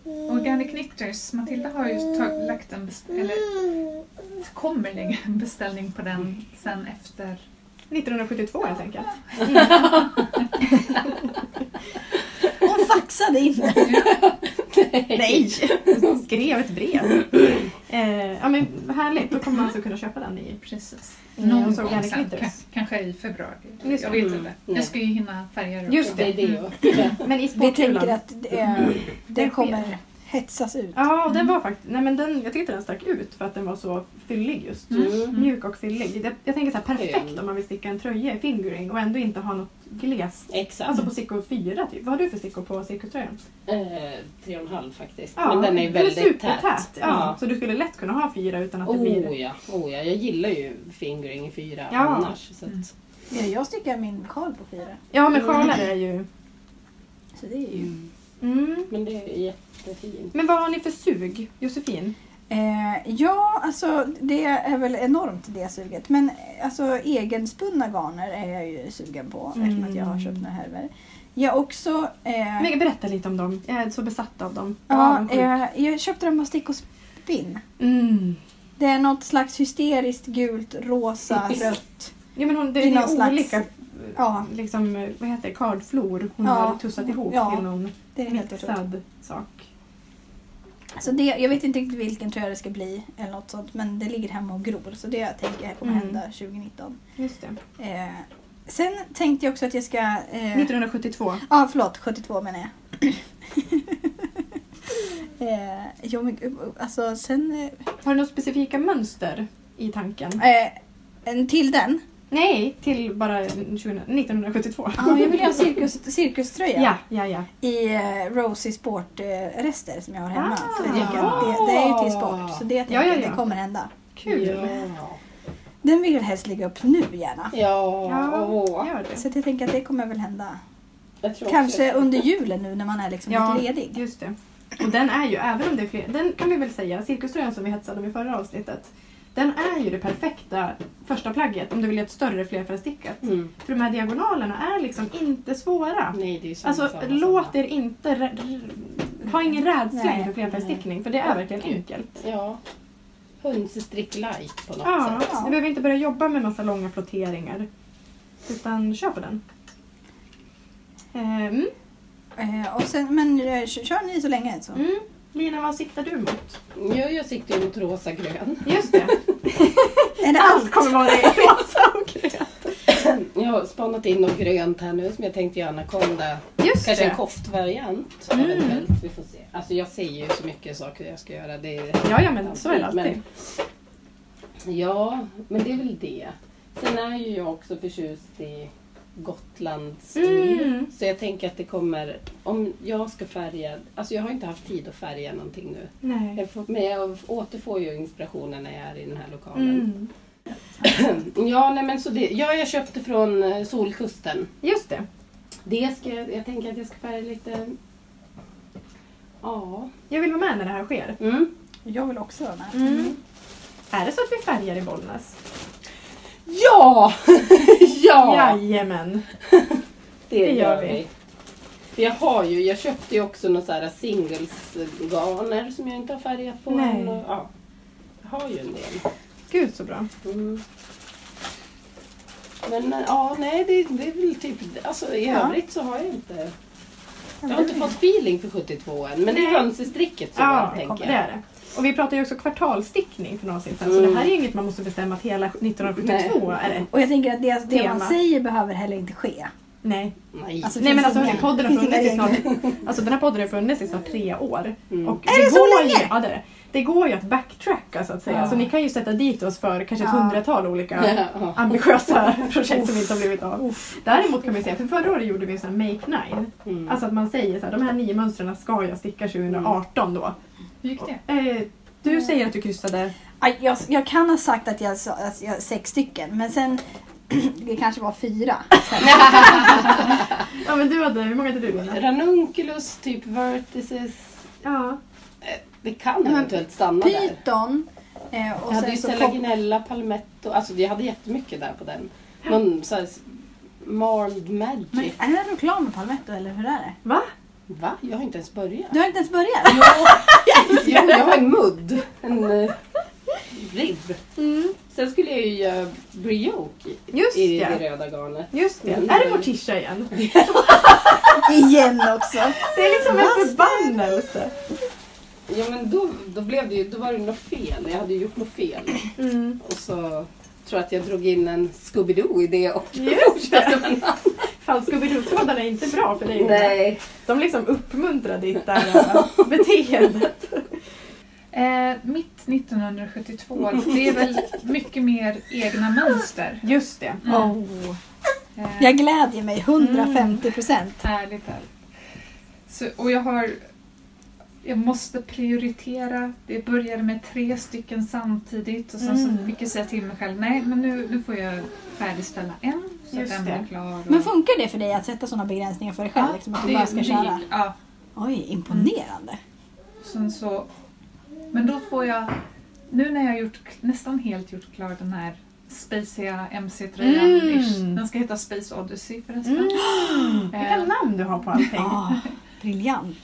[SPEAKER 1] Organic Knitters, Matilda har ju tag- lagt en... Best-
[SPEAKER 3] Mm.
[SPEAKER 1] eller kommer lägga en beställning på den sen efter...
[SPEAKER 3] 1972 helt enkelt.
[SPEAKER 4] Hon
[SPEAKER 1] [laughs]
[SPEAKER 4] faxade inte.
[SPEAKER 3] Mm. Nej! Hon [laughs] skrev ett brev. Eh, ja men härligt, då kommer man alltså kunna köpa den i
[SPEAKER 1] Precis.
[SPEAKER 3] Mm,
[SPEAKER 1] Någon
[SPEAKER 3] och så
[SPEAKER 1] gång
[SPEAKER 3] organic
[SPEAKER 1] sen,
[SPEAKER 3] knitters.
[SPEAKER 1] ka- kanske i februari.
[SPEAKER 3] Just
[SPEAKER 1] jag
[SPEAKER 3] det.
[SPEAKER 1] vet
[SPEAKER 2] Mm,
[SPEAKER 1] inte.
[SPEAKER 2] nej.
[SPEAKER 1] Jag ska ju hinna färga
[SPEAKER 3] Just Mm.
[SPEAKER 1] också.
[SPEAKER 2] Det är det.
[SPEAKER 3] Men i
[SPEAKER 4] Vi tänker
[SPEAKER 3] sportkulan.
[SPEAKER 4] att eh,
[SPEAKER 1] Mm.
[SPEAKER 4] den kommer hetsas ut.
[SPEAKER 3] Ja, och den var faktiskt... Nej men den, jag tyckte den stack ut för att den var så fyllig just.
[SPEAKER 2] Mm.
[SPEAKER 3] Mjuk och fyllig. Jag, jag tänker så här perfekt
[SPEAKER 2] Mm.
[SPEAKER 3] om man vill sticka en tröja i fingering och ändå inte ha något glest.
[SPEAKER 2] Exakt.
[SPEAKER 3] Alltså på stickor 4 typ. Vad har du för stickor på cirkuströjan?
[SPEAKER 2] Eh, tre och en halv faktiskt. Men den är väldigt
[SPEAKER 3] supertät.
[SPEAKER 2] tät.
[SPEAKER 3] Ja. Så du skulle lätt kunna ha fyra utan att det
[SPEAKER 2] Oh
[SPEAKER 3] blir...
[SPEAKER 2] ja, oh ja, jag gillar ju fingering i fyra
[SPEAKER 3] Ja.
[SPEAKER 2] annars. Så
[SPEAKER 1] Mm.
[SPEAKER 2] att,
[SPEAKER 4] Ja, jag stickar min sjal på fyra.
[SPEAKER 3] Ja men sjalar är ju...
[SPEAKER 4] Så det är ju...
[SPEAKER 3] Mm.
[SPEAKER 2] Men det är jättefint.
[SPEAKER 3] Men vad har ni för sug, Josefin?
[SPEAKER 4] Eh, ja, alltså det är väl enormt det suget. Men eh, alltså egenspunna garner är jag ju sugen på
[SPEAKER 3] Mm.
[SPEAKER 4] eftersom att jag har köpt några härvor. Jag också... Eh,
[SPEAKER 3] Men berätta lite om dem. Jag är så besatt av dem.
[SPEAKER 4] ja,
[SPEAKER 3] Avundsjuk.
[SPEAKER 4] eh, jag köpte dem på Stick och Spinn.
[SPEAKER 3] Mm.
[SPEAKER 4] Det är något slags hysteriskt gult, rosa, rött.
[SPEAKER 3] Ja, men hon, det
[SPEAKER 4] I
[SPEAKER 3] är ju
[SPEAKER 4] någon slags-
[SPEAKER 3] olika
[SPEAKER 4] Ja,
[SPEAKER 3] liksom, eh, vad heter det, kardflor hon
[SPEAKER 4] Ja.
[SPEAKER 3] har tussat ihop
[SPEAKER 4] Ja.
[SPEAKER 3] till någon
[SPEAKER 4] det är helt otroligt.
[SPEAKER 3] mixad sak.
[SPEAKER 4] Så det, jag vet inte riktigt vilken tröja det ska bli eller något sånt men det ligger hemma och gror så det tänker jag kommer
[SPEAKER 3] Mm.
[SPEAKER 4] hända 2019.
[SPEAKER 3] Just det.
[SPEAKER 4] Eh, sen tänkte jag också att jag ska... Eh,
[SPEAKER 3] 1972.
[SPEAKER 4] Ja, förlåt. 72 menar jag. [laughs] eh, jo, men gud, alltså sen...
[SPEAKER 3] Har du några specifika mönster i tanken?
[SPEAKER 4] Eh, en till den
[SPEAKER 3] Nej, till bara 20, 1972.
[SPEAKER 4] Ja, jag vill ha en
[SPEAKER 3] [laughs]
[SPEAKER 4] cirkus, cirkuströja
[SPEAKER 3] Ja, ja, ja.
[SPEAKER 4] i eh, Rosie Sport-rester som jag har hemma.
[SPEAKER 3] Ah.
[SPEAKER 4] För jag tänker att det, det är ju till sport, så det tänker jag
[SPEAKER 3] ja,
[SPEAKER 4] att
[SPEAKER 3] ja.
[SPEAKER 4] det kommer hända.
[SPEAKER 3] Kul.
[SPEAKER 2] Ja.
[SPEAKER 4] Den vill jag helst lägga upp nu gärna.
[SPEAKER 2] Ja.
[SPEAKER 3] Ja,
[SPEAKER 2] åh.
[SPEAKER 3] Gör det.
[SPEAKER 4] Så att jag tänker att det kommer väl hända.
[SPEAKER 2] Jag tror också-
[SPEAKER 4] Kanske under julen nu när man är liksom
[SPEAKER 3] Ja.
[SPEAKER 4] lite ledig.
[SPEAKER 3] Just det. Och den är ju, även om det är fler, den kan vi väl säga, cirkuströjan som vi hetsade om i förra avsnittet. Den är ju det perfekta första plagget om du vill göra ett större flerfärgstickat.
[SPEAKER 2] Mm.
[SPEAKER 3] För de här diagonalerna är liksom inte svåra.
[SPEAKER 2] Nej, det är ju samma,
[SPEAKER 3] Alltså
[SPEAKER 2] samma,
[SPEAKER 3] låt
[SPEAKER 2] samma.
[SPEAKER 3] er inte, rä- r- ha ingen rädsla
[SPEAKER 4] Nej.
[SPEAKER 3] inför flerfärgsstickning för det är verkligen enkelt.
[SPEAKER 2] Ja. Hundstrick light på något
[SPEAKER 3] Ja,
[SPEAKER 2] sätt.
[SPEAKER 3] ni behöver inte börja jobba med massa långa flotteringar. Utan kör på den. Ehm,
[SPEAKER 4] Eh, och sen, men eh, kör- kör ni så länge så.
[SPEAKER 3] mm. Lina, vad siktar du mot?
[SPEAKER 2] Ja, jag siktar ju mot rosa-grön.
[SPEAKER 3] Just det,
[SPEAKER 4] Är det
[SPEAKER 3] allt
[SPEAKER 4] allt?
[SPEAKER 3] kommer
[SPEAKER 4] [laughs]
[SPEAKER 3] vara i rosa och grönt.
[SPEAKER 2] Jag har spanat in något grönt här nu som jag tänkte göra anakonda.
[SPEAKER 3] Just
[SPEAKER 2] Kanske en
[SPEAKER 3] det.
[SPEAKER 2] koftvariant.
[SPEAKER 3] Mm.
[SPEAKER 2] eventuellt. Vi får se. Alltså jag säger ju så mycket saker jag ska göra. Det är...
[SPEAKER 3] Ja, ja, men så är det alltid.
[SPEAKER 2] Ja, men det är väl det. Sen är ju jag också förtjust i Gotlands
[SPEAKER 3] Mm.
[SPEAKER 2] Så jag tänker att det kommer, om jag ska färga, alltså jag har inte haft tid att färga någonting nu.
[SPEAKER 3] Nej.
[SPEAKER 2] Jag får, men jag återfår ju inspirationen när jag är i den här lokalen.
[SPEAKER 3] Mm.
[SPEAKER 2] [clears throat] Ja, nej men så det, ja, jag köpte från eh, Solkusten.
[SPEAKER 3] Just det.
[SPEAKER 2] Det ska jag, jag tänker att jag ska färga lite, ja.
[SPEAKER 3] Jag vill vara med när det här sker.
[SPEAKER 2] Mm.
[SPEAKER 4] Jag vill också vara med.
[SPEAKER 3] Mm. Är det så att vi färgar i Bollnäs?
[SPEAKER 2] Ja! [laughs] ja!
[SPEAKER 3] Jajamän.
[SPEAKER 2] Det,
[SPEAKER 3] Det gör
[SPEAKER 2] gör
[SPEAKER 3] vi.
[SPEAKER 2] vi. För jag har ju, jag köpte ju också några så här singelsgarner som jag inte har färgat på
[SPEAKER 3] Nej.
[SPEAKER 2] än. Och, ja. Jag har ju en del.
[SPEAKER 3] Gud så bra.
[SPEAKER 2] Mm. Men eh, ja, nej det, det är väl typ, alltså i
[SPEAKER 4] Ja.
[SPEAKER 2] övrigt så har jag inte, jag har inte fått feeling för 72 än. Men det
[SPEAKER 3] Nej.
[SPEAKER 2] är hönsestricket som
[SPEAKER 3] Ja,
[SPEAKER 2] jag
[SPEAKER 3] det
[SPEAKER 2] tänker.
[SPEAKER 3] är det. Och vi pratar ju också kvartalstickning för några avsnitt sedan. Så
[SPEAKER 2] Mm.
[SPEAKER 3] det här är ju inget man måste bestämma att hela 1972 är det.
[SPEAKER 4] Och jag tänker att det, det man
[SPEAKER 3] Tema.
[SPEAKER 4] säger behöver heller inte ske.
[SPEAKER 3] Nej.
[SPEAKER 2] Nej.
[SPEAKER 4] Alltså,
[SPEAKER 3] Nej men
[SPEAKER 4] finns
[SPEAKER 3] alltså
[SPEAKER 4] inga-
[SPEAKER 3] hörni, podden har
[SPEAKER 4] finns
[SPEAKER 3] funnits i
[SPEAKER 4] inga
[SPEAKER 3] snart,
[SPEAKER 2] [laughs]
[SPEAKER 3] alltså den här podden har funnits i snart tre år.
[SPEAKER 2] Mm. [laughs]
[SPEAKER 3] Och
[SPEAKER 4] Är det så
[SPEAKER 3] går
[SPEAKER 4] länge?
[SPEAKER 3] Ju, ja, det, är det. det går ju att backtracka så att säga.
[SPEAKER 2] Ja.
[SPEAKER 3] Så ni kan ju sätta dit oss för kanske ett
[SPEAKER 4] Ja.
[SPEAKER 3] hundratal olika
[SPEAKER 2] Ja.
[SPEAKER 3] ambitiösa projekt som inte har blivit av. Däremot kan vi säga, för förra året gjorde vi en sån här make nine.
[SPEAKER 2] Mm.
[SPEAKER 3] Alltså att man säger så här, de här nio mönstren ska jag sticka 2018 då.
[SPEAKER 1] Hur gick det?
[SPEAKER 3] Eh, du
[SPEAKER 2] Mm.
[SPEAKER 3] säger att du kryssade...
[SPEAKER 4] Aj, Jag, jag kan ha sagt att jag sa att jag, sex stycken, men sen [clears throat] det kanske var fyra.
[SPEAKER 3] Ja men du hade, hur många hade du Lina?
[SPEAKER 2] Ranunculus, typ vertices.
[SPEAKER 3] Ja.
[SPEAKER 2] Eh, Det kan
[SPEAKER 4] Men
[SPEAKER 2] eventuellt stanna där.
[SPEAKER 4] Python eh, och
[SPEAKER 2] Jag hade
[SPEAKER 4] sen
[SPEAKER 2] ju
[SPEAKER 4] så kom,
[SPEAKER 2] Selaginella, Palmetto, alltså jag hade jättemycket där på den. Någon så här s- Marled Magic.
[SPEAKER 4] men Är det reklam med Palmetto eller hur är det?
[SPEAKER 3] Va?
[SPEAKER 2] Va? Jag har inte ens
[SPEAKER 4] [laughs]
[SPEAKER 2] börjat.
[SPEAKER 4] Du har inte ens börjat?
[SPEAKER 2] Jo, jo, jag har en mudd. En eh, ribb.
[SPEAKER 3] Mm.
[SPEAKER 2] Sen skulle jag ju göra brioche i,
[SPEAKER 3] Just
[SPEAKER 2] i
[SPEAKER 3] ja.
[SPEAKER 2] det röda garnet.
[SPEAKER 3] Just det.
[SPEAKER 2] Mm.
[SPEAKER 3] Är det Morticia igen?
[SPEAKER 4] Igen också!
[SPEAKER 3] Det är liksom en förbannelse.
[SPEAKER 2] Ja men då, då, blev det ju, då var det något fel. Jag hade ju gjort något fel.
[SPEAKER 3] Mm.
[SPEAKER 2] Och så tror jag att jag drog in en Scooby-Doo i det och
[SPEAKER 3] Just
[SPEAKER 2] fortsatte
[SPEAKER 3] [laughs] det.
[SPEAKER 2] med en annan.
[SPEAKER 3] Fan, Scooby-Doo-trådarna är inte bra för dig. Lina.
[SPEAKER 2] Nej.
[SPEAKER 3] De liksom
[SPEAKER 2] [laughs]
[SPEAKER 3] uppmuntrar ditt eh, där beteendet.
[SPEAKER 1] Eh, mitt 1972, det är väl mycket mer egna mönster. Mm.
[SPEAKER 3] Just det.
[SPEAKER 4] Oh.
[SPEAKER 1] Eh,
[SPEAKER 4] Jag glädjer mig 150 procent.
[SPEAKER 1] Ärligt talat. Så, och jag har... Jag måste prioritera. Det började med tre stycken samtidigt och sen så
[SPEAKER 3] Mm.
[SPEAKER 1] fick jag säga till mig själv, nej men nu, nu får jag färdigställa en så
[SPEAKER 3] Just
[SPEAKER 1] att den
[SPEAKER 3] det.
[SPEAKER 1] blir klar. Och...
[SPEAKER 4] Men funkar det för dig att sätta sådana begränsningar för dig själv? Liksom att du bara ska
[SPEAKER 1] det-
[SPEAKER 4] köra?
[SPEAKER 1] Ja,
[SPEAKER 4] Oj, imponerande.
[SPEAKER 1] Mm. sen så... Men då får jag... Nu när jag har gjort, nästan helt gjort klar den här spaciga MC-tröjan,
[SPEAKER 3] Mm.
[SPEAKER 1] den ska heta Space Odyssey förresten.
[SPEAKER 3] Mm.
[SPEAKER 1] [gasps] Eh,
[SPEAKER 3] Vilka namn du har på allting.
[SPEAKER 4] Ah,
[SPEAKER 1] [laughs]
[SPEAKER 4] briljant.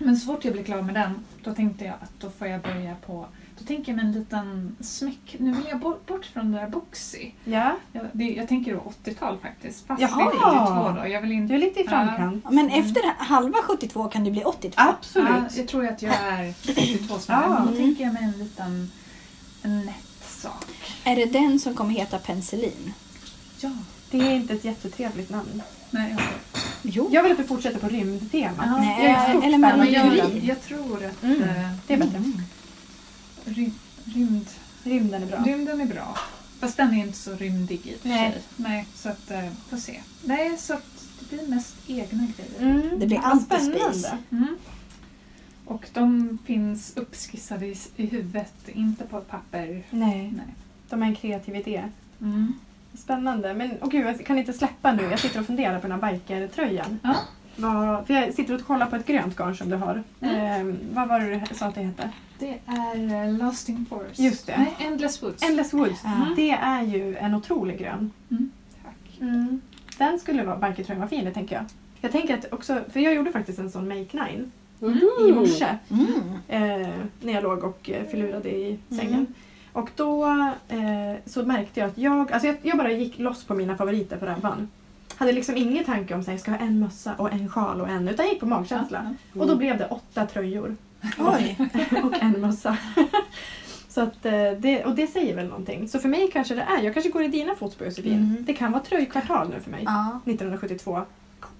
[SPEAKER 1] Men så fort jag blev klar med den, då tänkte jag att då får jag börja på... Då tänker jag mig en liten smäck. Nu vill jag bort, bort från det där boxy.
[SPEAKER 3] Ja.
[SPEAKER 1] Jag, det, jag tänker då 80-tal faktiskt. Fast
[SPEAKER 3] Jaha.
[SPEAKER 1] det är 82 då. Jag vill
[SPEAKER 3] Du
[SPEAKER 1] inte...
[SPEAKER 3] är lite i framkant.
[SPEAKER 4] Ja, Men efter halva 72 kan du bli 82.
[SPEAKER 1] Mm. Ja,
[SPEAKER 3] Absolut.
[SPEAKER 1] jag tror att jag är 82 snarare.
[SPEAKER 3] Ja.
[SPEAKER 1] Men Då tänker jag mig en liten en nätt sak.
[SPEAKER 4] Är det den som kommer heta penicillin?
[SPEAKER 1] Ja.
[SPEAKER 3] Det är inte ett jättetrevligt namn.
[SPEAKER 1] Nej, jag,
[SPEAKER 4] Jo.
[SPEAKER 3] Jag vill att du fortsätter på rymdtema.
[SPEAKER 1] Ja.
[SPEAKER 4] Nej,
[SPEAKER 3] jag är ett stort
[SPEAKER 4] eller
[SPEAKER 3] fan av
[SPEAKER 1] men jag,
[SPEAKER 4] Curie.
[SPEAKER 1] jag tror att
[SPEAKER 3] Mm.
[SPEAKER 1] eh,
[SPEAKER 3] Det är bättre.
[SPEAKER 1] rym, rymd,
[SPEAKER 3] Rymden är bra.
[SPEAKER 1] rymden är bra. Fast den är inte så rymdig i och för
[SPEAKER 4] Nej.
[SPEAKER 1] sig. Nej, så att, eh, får se. Nej, så att det blir mest egna grejer.
[SPEAKER 3] Mm.
[SPEAKER 4] Det blir
[SPEAKER 3] Vad
[SPEAKER 4] antispis.
[SPEAKER 3] spännande.
[SPEAKER 1] Mm. Och de finns uppskissade i, i huvudet, inte på ett papper.
[SPEAKER 3] Nej,
[SPEAKER 1] Nej.
[SPEAKER 3] de är en kreativ idé.
[SPEAKER 1] Mm.
[SPEAKER 3] Spännande. Men åh gud, jag kan inte släppa nu. Jag sitter och funderar på den här bikertröjan.
[SPEAKER 1] Ja.
[SPEAKER 3] Vad- För jag sitter och kollar på ett grönt garn som du har. Eh, vad var det du sa att det hette?
[SPEAKER 1] Det är eh, Lasting Forest.
[SPEAKER 3] Just det.
[SPEAKER 1] Nej, Endless Woods.
[SPEAKER 3] Endless Woods.
[SPEAKER 1] Mm.
[SPEAKER 3] Det är ju en otrolig grön.
[SPEAKER 1] Mm. Tack.
[SPEAKER 3] Den skulle vara bikertröjan vara fin, det tänker jag. Jag tänker att också, för jag gjorde faktiskt en sån Make Nine i
[SPEAKER 2] Mm.
[SPEAKER 3] morse.
[SPEAKER 4] Mm.
[SPEAKER 3] eh, när jag låg och eh, förlurade i
[SPEAKER 4] Mm.
[SPEAKER 3] sängen. Och då eh, så märkte jag att jag, alltså jag, jag bara gick loss på mina favoriter på Rabban. Hade liksom ingen tanke om att jag ska ha en mössa och en sjal och en, utan jag gick på magkänsla. Och då blev det åtta tröjor [laughs]
[SPEAKER 4] Oj.
[SPEAKER 3] och en mössa. [laughs] så att, eh, det, och det säger väl någonting. Så för mig kanske det är, jag kanske går i dina fotspår Josefin.
[SPEAKER 4] Mm.
[SPEAKER 3] Det kan vara tröjkvartal nu för mig.
[SPEAKER 4] Ja,
[SPEAKER 3] 1972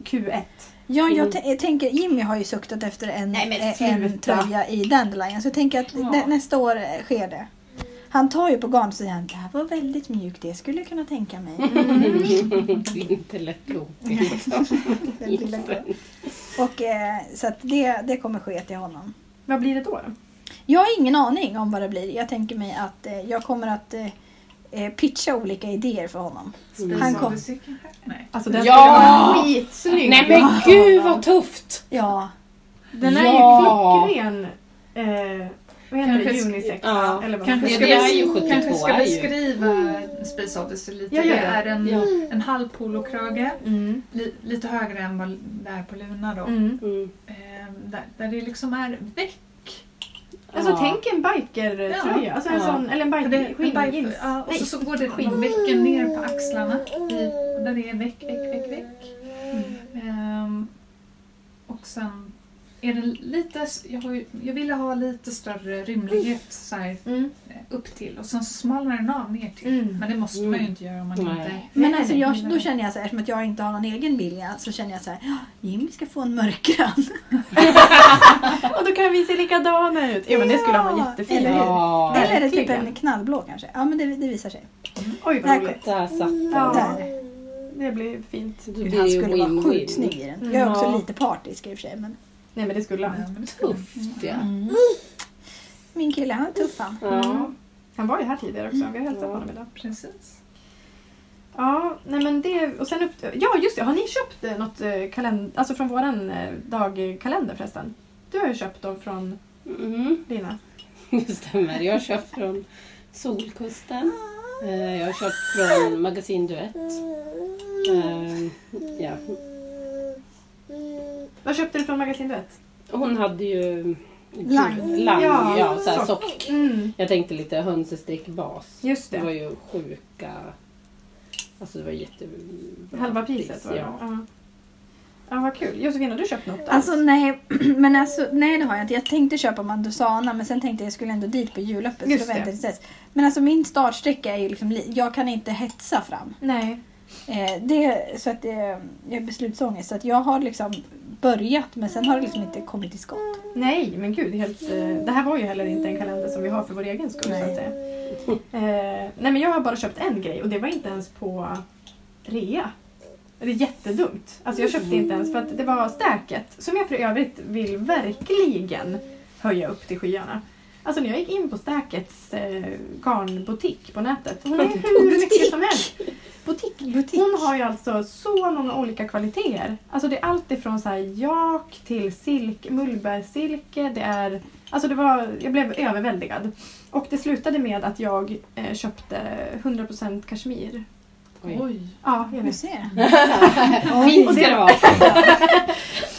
[SPEAKER 3] Q1.
[SPEAKER 4] ja jag, t- jag tänker Jimmy har ju suktat efter en,
[SPEAKER 3] Nej, men
[SPEAKER 4] eh, en
[SPEAKER 3] sluta.
[SPEAKER 4] tröja i Dandelion så jag tänker att
[SPEAKER 1] Ja.
[SPEAKER 4] nä- nästa år eh, sker det. Han tar ju på garn och säger han, det här var väldigt mjukt, det skulle jag kunna tänka mig.
[SPEAKER 3] Mm.
[SPEAKER 2] [laughs] Inte lätt
[SPEAKER 4] [laughs] Den lilla grön. och, eh, så att det, det kommer ske till honom.
[SPEAKER 3] Vad blir det då? då?
[SPEAKER 4] Jag har ingen aning om vad det blir. Jag tänker mig att eh, jag kommer att eh, eh, pitcha olika idéer för honom.
[SPEAKER 1] Spis
[SPEAKER 4] Han
[SPEAKER 1] av
[SPEAKER 4] kom.
[SPEAKER 1] musiken här. Nej.
[SPEAKER 3] Alltså den
[SPEAKER 2] Ja!
[SPEAKER 3] skulle vara skitsnygg!
[SPEAKER 2] Nej men gud vad tufft!
[SPEAKER 4] Ja,
[SPEAKER 3] Den är
[SPEAKER 2] Ja.
[SPEAKER 3] ju klockren. Eh, vad heter
[SPEAKER 1] Kanske
[SPEAKER 3] det?
[SPEAKER 1] sk-
[SPEAKER 3] Unisex?
[SPEAKER 2] ja.
[SPEAKER 3] Eller vad
[SPEAKER 1] Kanske
[SPEAKER 3] man
[SPEAKER 2] Ja,
[SPEAKER 1] ska,
[SPEAKER 2] det är
[SPEAKER 1] vi-
[SPEAKER 2] ju 72
[SPEAKER 1] kanske ska
[SPEAKER 2] är ju.
[SPEAKER 1] beskriva Space Odyssey lite.
[SPEAKER 3] Ja, gör
[SPEAKER 1] det
[SPEAKER 3] det.
[SPEAKER 1] är en,
[SPEAKER 2] Ja.
[SPEAKER 1] en halv polokrage,
[SPEAKER 3] Mm.
[SPEAKER 1] li, lite högre än vad det är på Luna. Då.
[SPEAKER 3] Mm.
[SPEAKER 2] Mm.
[SPEAKER 1] Eh, där, där det liksom är väck.
[SPEAKER 3] Alltså
[SPEAKER 2] Ja.
[SPEAKER 3] tänk en bikertröja,
[SPEAKER 1] Ja.
[SPEAKER 3] alltså en
[SPEAKER 2] Ja.
[SPEAKER 3] sån, eller en
[SPEAKER 1] För
[SPEAKER 3] biker,
[SPEAKER 1] det-
[SPEAKER 3] skinn,
[SPEAKER 1] en bike-
[SPEAKER 3] jeans.
[SPEAKER 1] ja, och
[SPEAKER 3] Nej.
[SPEAKER 1] så, så går det skinnvecken ner på axlarna i, där det är veck, veck, veck, veck. Ehm, och sen är det lite, jag, har ju, jag ville ha lite större rymlighet så här,
[SPEAKER 3] Mm.
[SPEAKER 1] eh, upp till och sen så smalnar den av ner till.
[SPEAKER 3] Mm.
[SPEAKER 1] Men det måste man ju inte göra om man
[SPEAKER 2] Nej.
[SPEAKER 1] inte...
[SPEAKER 4] men
[SPEAKER 3] Nej,
[SPEAKER 4] alltså
[SPEAKER 3] nej,
[SPEAKER 4] jag,
[SPEAKER 1] nej, nej.
[SPEAKER 4] då känner jag så här, eftersom att jag inte har någon egen vilja så känner jag så här, "Ja, Jimmy ska få en [laughs] mörkgrön.
[SPEAKER 3] Och då kan vi se likadana ut! Jo men det skulle han vara
[SPEAKER 4] Ja,
[SPEAKER 3] jättefin.
[SPEAKER 4] eller hur?
[SPEAKER 2] Ja,
[SPEAKER 4] Eller är det typ
[SPEAKER 3] verkligen.
[SPEAKER 4] en knallblå kanske? Ja men det, det visar sig.
[SPEAKER 3] Oj vad
[SPEAKER 4] Där
[SPEAKER 3] roligt.
[SPEAKER 2] där satt den.
[SPEAKER 3] Ja.
[SPEAKER 4] Där.
[SPEAKER 3] Det blir fint.
[SPEAKER 2] Det blir
[SPEAKER 4] Han
[SPEAKER 2] ju
[SPEAKER 4] skulle vara
[SPEAKER 2] win-win.
[SPEAKER 4] sjukt snygg i den.
[SPEAKER 3] Mm,
[SPEAKER 4] Jag är också
[SPEAKER 3] ja.
[SPEAKER 4] lite partisk i och för sig. Men...
[SPEAKER 3] Nej men det skulle
[SPEAKER 1] Ja,
[SPEAKER 3] han.
[SPEAKER 1] men det ska man.
[SPEAKER 2] Tufft ja.
[SPEAKER 4] Mm. Min kille han är tuff han.
[SPEAKER 2] ja.
[SPEAKER 3] Mm. Han var ju här tidigare också, vi har hälsat på
[SPEAKER 2] Ja.
[SPEAKER 3] honom idag.
[SPEAKER 1] Precis.
[SPEAKER 3] Ja, nej men det... Och sen upp, ja, just det. Har ni köpt eh, något eh, kalender... Alltså från våran eh, dagkalender förresten? Du har ju köpt dem från
[SPEAKER 2] Mm.
[SPEAKER 3] Lina.
[SPEAKER 2] [laughs] Det stämmer. Jag har köpt från Solkusten. Eh, Jag har köpt från Magasin Duett. Eh, Ja.
[SPEAKER 3] Vad köpte du från Magasin Duett?
[SPEAKER 2] Hon hade ju...
[SPEAKER 4] Lang.
[SPEAKER 2] Lang,
[SPEAKER 3] Ja,
[SPEAKER 2] ja. så här
[SPEAKER 3] sock.
[SPEAKER 2] sock.
[SPEAKER 3] Mm,
[SPEAKER 2] Jag tänkte lite hönsestickbas.
[SPEAKER 3] just
[SPEAKER 2] Det var
[SPEAKER 3] det.
[SPEAKER 2] ju sjuka... Alltså det var jätte...
[SPEAKER 3] Halva priset var det.
[SPEAKER 2] Ja.
[SPEAKER 3] Ja. ja, vad kul. Josefin, har du köpt något?
[SPEAKER 4] Alltså nej, [clears throat] men alltså, nej det har jag inte. Jag tänkte köpa Mandusana men sen tänkte jag skulle ändå dit på julöppet.
[SPEAKER 3] Just
[SPEAKER 4] så då väntade jag
[SPEAKER 3] det.
[SPEAKER 4] till dess. Men alltså min startsträcka är ju liksom, li- jag kan inte hetsa fram.
[SPEAKER 3] Nej.
[SPEAKER 4] Eh, det, så att eh, jag är beslutsångest så att jag har liksom börjat men sen har det liksom inte kommit till skott.
[SPEAKER 3] Nej, men gud. Helt, eh, det här var ju heller inte en kalender som vi har för vår egen skull. Så
[SPEAKER 4] Nej.
[SPEAKER 3] att säga. Eh, nej, men jag har bara köpt en grej och det var inte ens på rea. Det är jättedumt. Alltså jag köpte inte ens för att det var stäket som jag för övrigt vill verkligen höja upp till skyarna. Alltså när jag gick in på Stäkets eh, garnbutik på nätet. Hon är hur mycket som helst. Butik.
[SPEAKER 4] Butik.
[SPEAKER 3] Hon har ju alltså så många olika kvaliteter. Alltså det är allt ifrån så här jak till silk, mullbärssilke. Det är, alltså det var, jag blev överväldigad. Och det slutade med att jag eh, köpte 100% kashmir.
[SPEAKER 2] Oj. [laughs]
[SPEAKER 3] Ja, jag
[SPEAKER 4] Du
[SPEAKER 3] vet.
[SPEAKER 4] ser.
[SPEAKER 2] Fint ska det vara.
[SPEAKER 3] [laughs]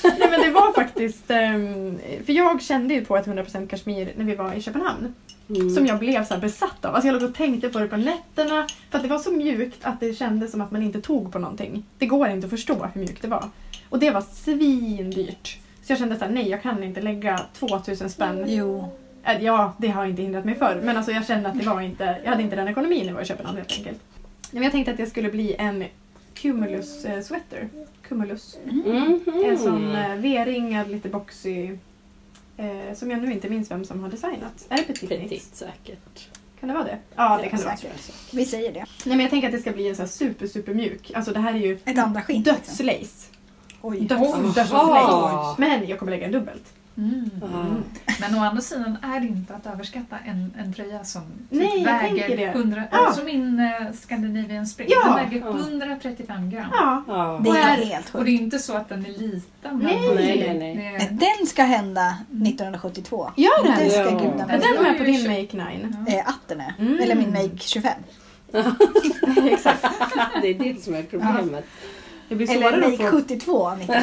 [SPEAKER 3] Nej men det var faktiskt, ehm, för jag kände ju på ett 100% kashmir när vi var i Köpenhamn.
[SPEAKER 2] Mm.
[SPEAKER 3] Som jag blev så här besatt av. Alltså jag låg och tänkte på det på nätterna. För att det var så mjukt att det kändes som att man inte tog på någonting. Det går inte att förstå hur mjukt det var. Och det var svindyrt. Så jag kände så här, nej jag kan inte lägga 2000 spänn.
[SPEAKER 4] Jo.
[SPEAKER 3] Äh, Ja, det har inte hindrat mig förr. Men alltså jag kände att det var inte, jag hade inte den ekonomin när jag var i Köpenhamn helt enkelt. Nej, Men jag tänkte att det skulle bli en Cumulus eh, sweater. Cumulus.
[SPEAKER 2] Mhm.
[SPEAKER 3] En sån eh, V-ringad, lite boxig. Eh, som jag nu inte minns vem som har designat. Är det Petit Knit?
[SPEAKER 2] Petit säkert.
[SPEAKER 3] Kan det vara det? Ja, det
[SPEAKER 4] Ja,
[SPEAKER 3] kan det vara.
[SPEAKER 4] säkert. Vi säger det.
[SPEAKER 3] Nej, men jag tänker att det ska bli en så här super, super mjuk. Alltså det här är ju
[SPEAKER 4] Ett andra skinn. liksom.
[SPEAKER 3] dödslace.
[SPEAKER 4] Oj.
[SPEAKER 3] Döds,
[SPEAKER 2] Jaha.
[SPEAKER 3] dödslace. Men jag kommer lägga en dubbelt.
[SPEAKER 1] Mm.
[SPEAKER 2] Ja.
[SPEAKER 1] Men å andra sidan är det inte att överskatta en, en tröja som typ
[SPEAKER 3] Nej, jag tänker
[SPEAKER 1] väger
[SPEAKER 3] det.
[SPEAKER 1] 100...
[SPEAKER 3] Ja.
[SPEAKER 1] Som min eh, Scandinavian Spring.
[SPEAKER 3] Ja.
[SPEAKER 1] Den väger
[SPEAKER 2] Ja.
[SPEAKER 1] 135 gram.
[SPEAKER 3] Ja.
[SPEAKER 2] Ja.
[SPEAKER 4] Det är
[SPEAKER 1] Och-
[SPEAKER 4] helt
[SPEAKER 1] Och det
[SPEAKER 4] sjukt.
[SPEAKER 1] är inte så att den är liten. men-
[SPEAKER 3] Nej.
[SPEAKER 2] Nej, nej, nej.
[SPEAKER 1] Det är-
[SPEAKER 4] Den ska hända 1972.
[SPEAKER 3] Gör den!
[SPEAKER 4] Det ska
[SPEAKER 2] Ja.
[SPEAKER 4] gudarna
[SPEAKER 3] Är
[SPEAKER 1] Men
[SPEAKER 4] veta.
[SPEAKER 3] den med på din Make 9?
[SPEAKER 1] Ja.
[SPEAKER 4] Eh, att den är.
[SPEAKER 3] Mm.
[SPEAKER 4] Eller min Make 25.
[SPEAKER 3] [laughs] Exakt.
[SPEAKER 2] [laughs] Det är det som är problemet.
[SPEAKER 3] Det blir,
[SPEAKER 4] Eller
[SPEAKER 3] svårare att
[SPEAKER 4] Make
[SPEAKER 3] få,
[SPEAKER 4] 72. 19.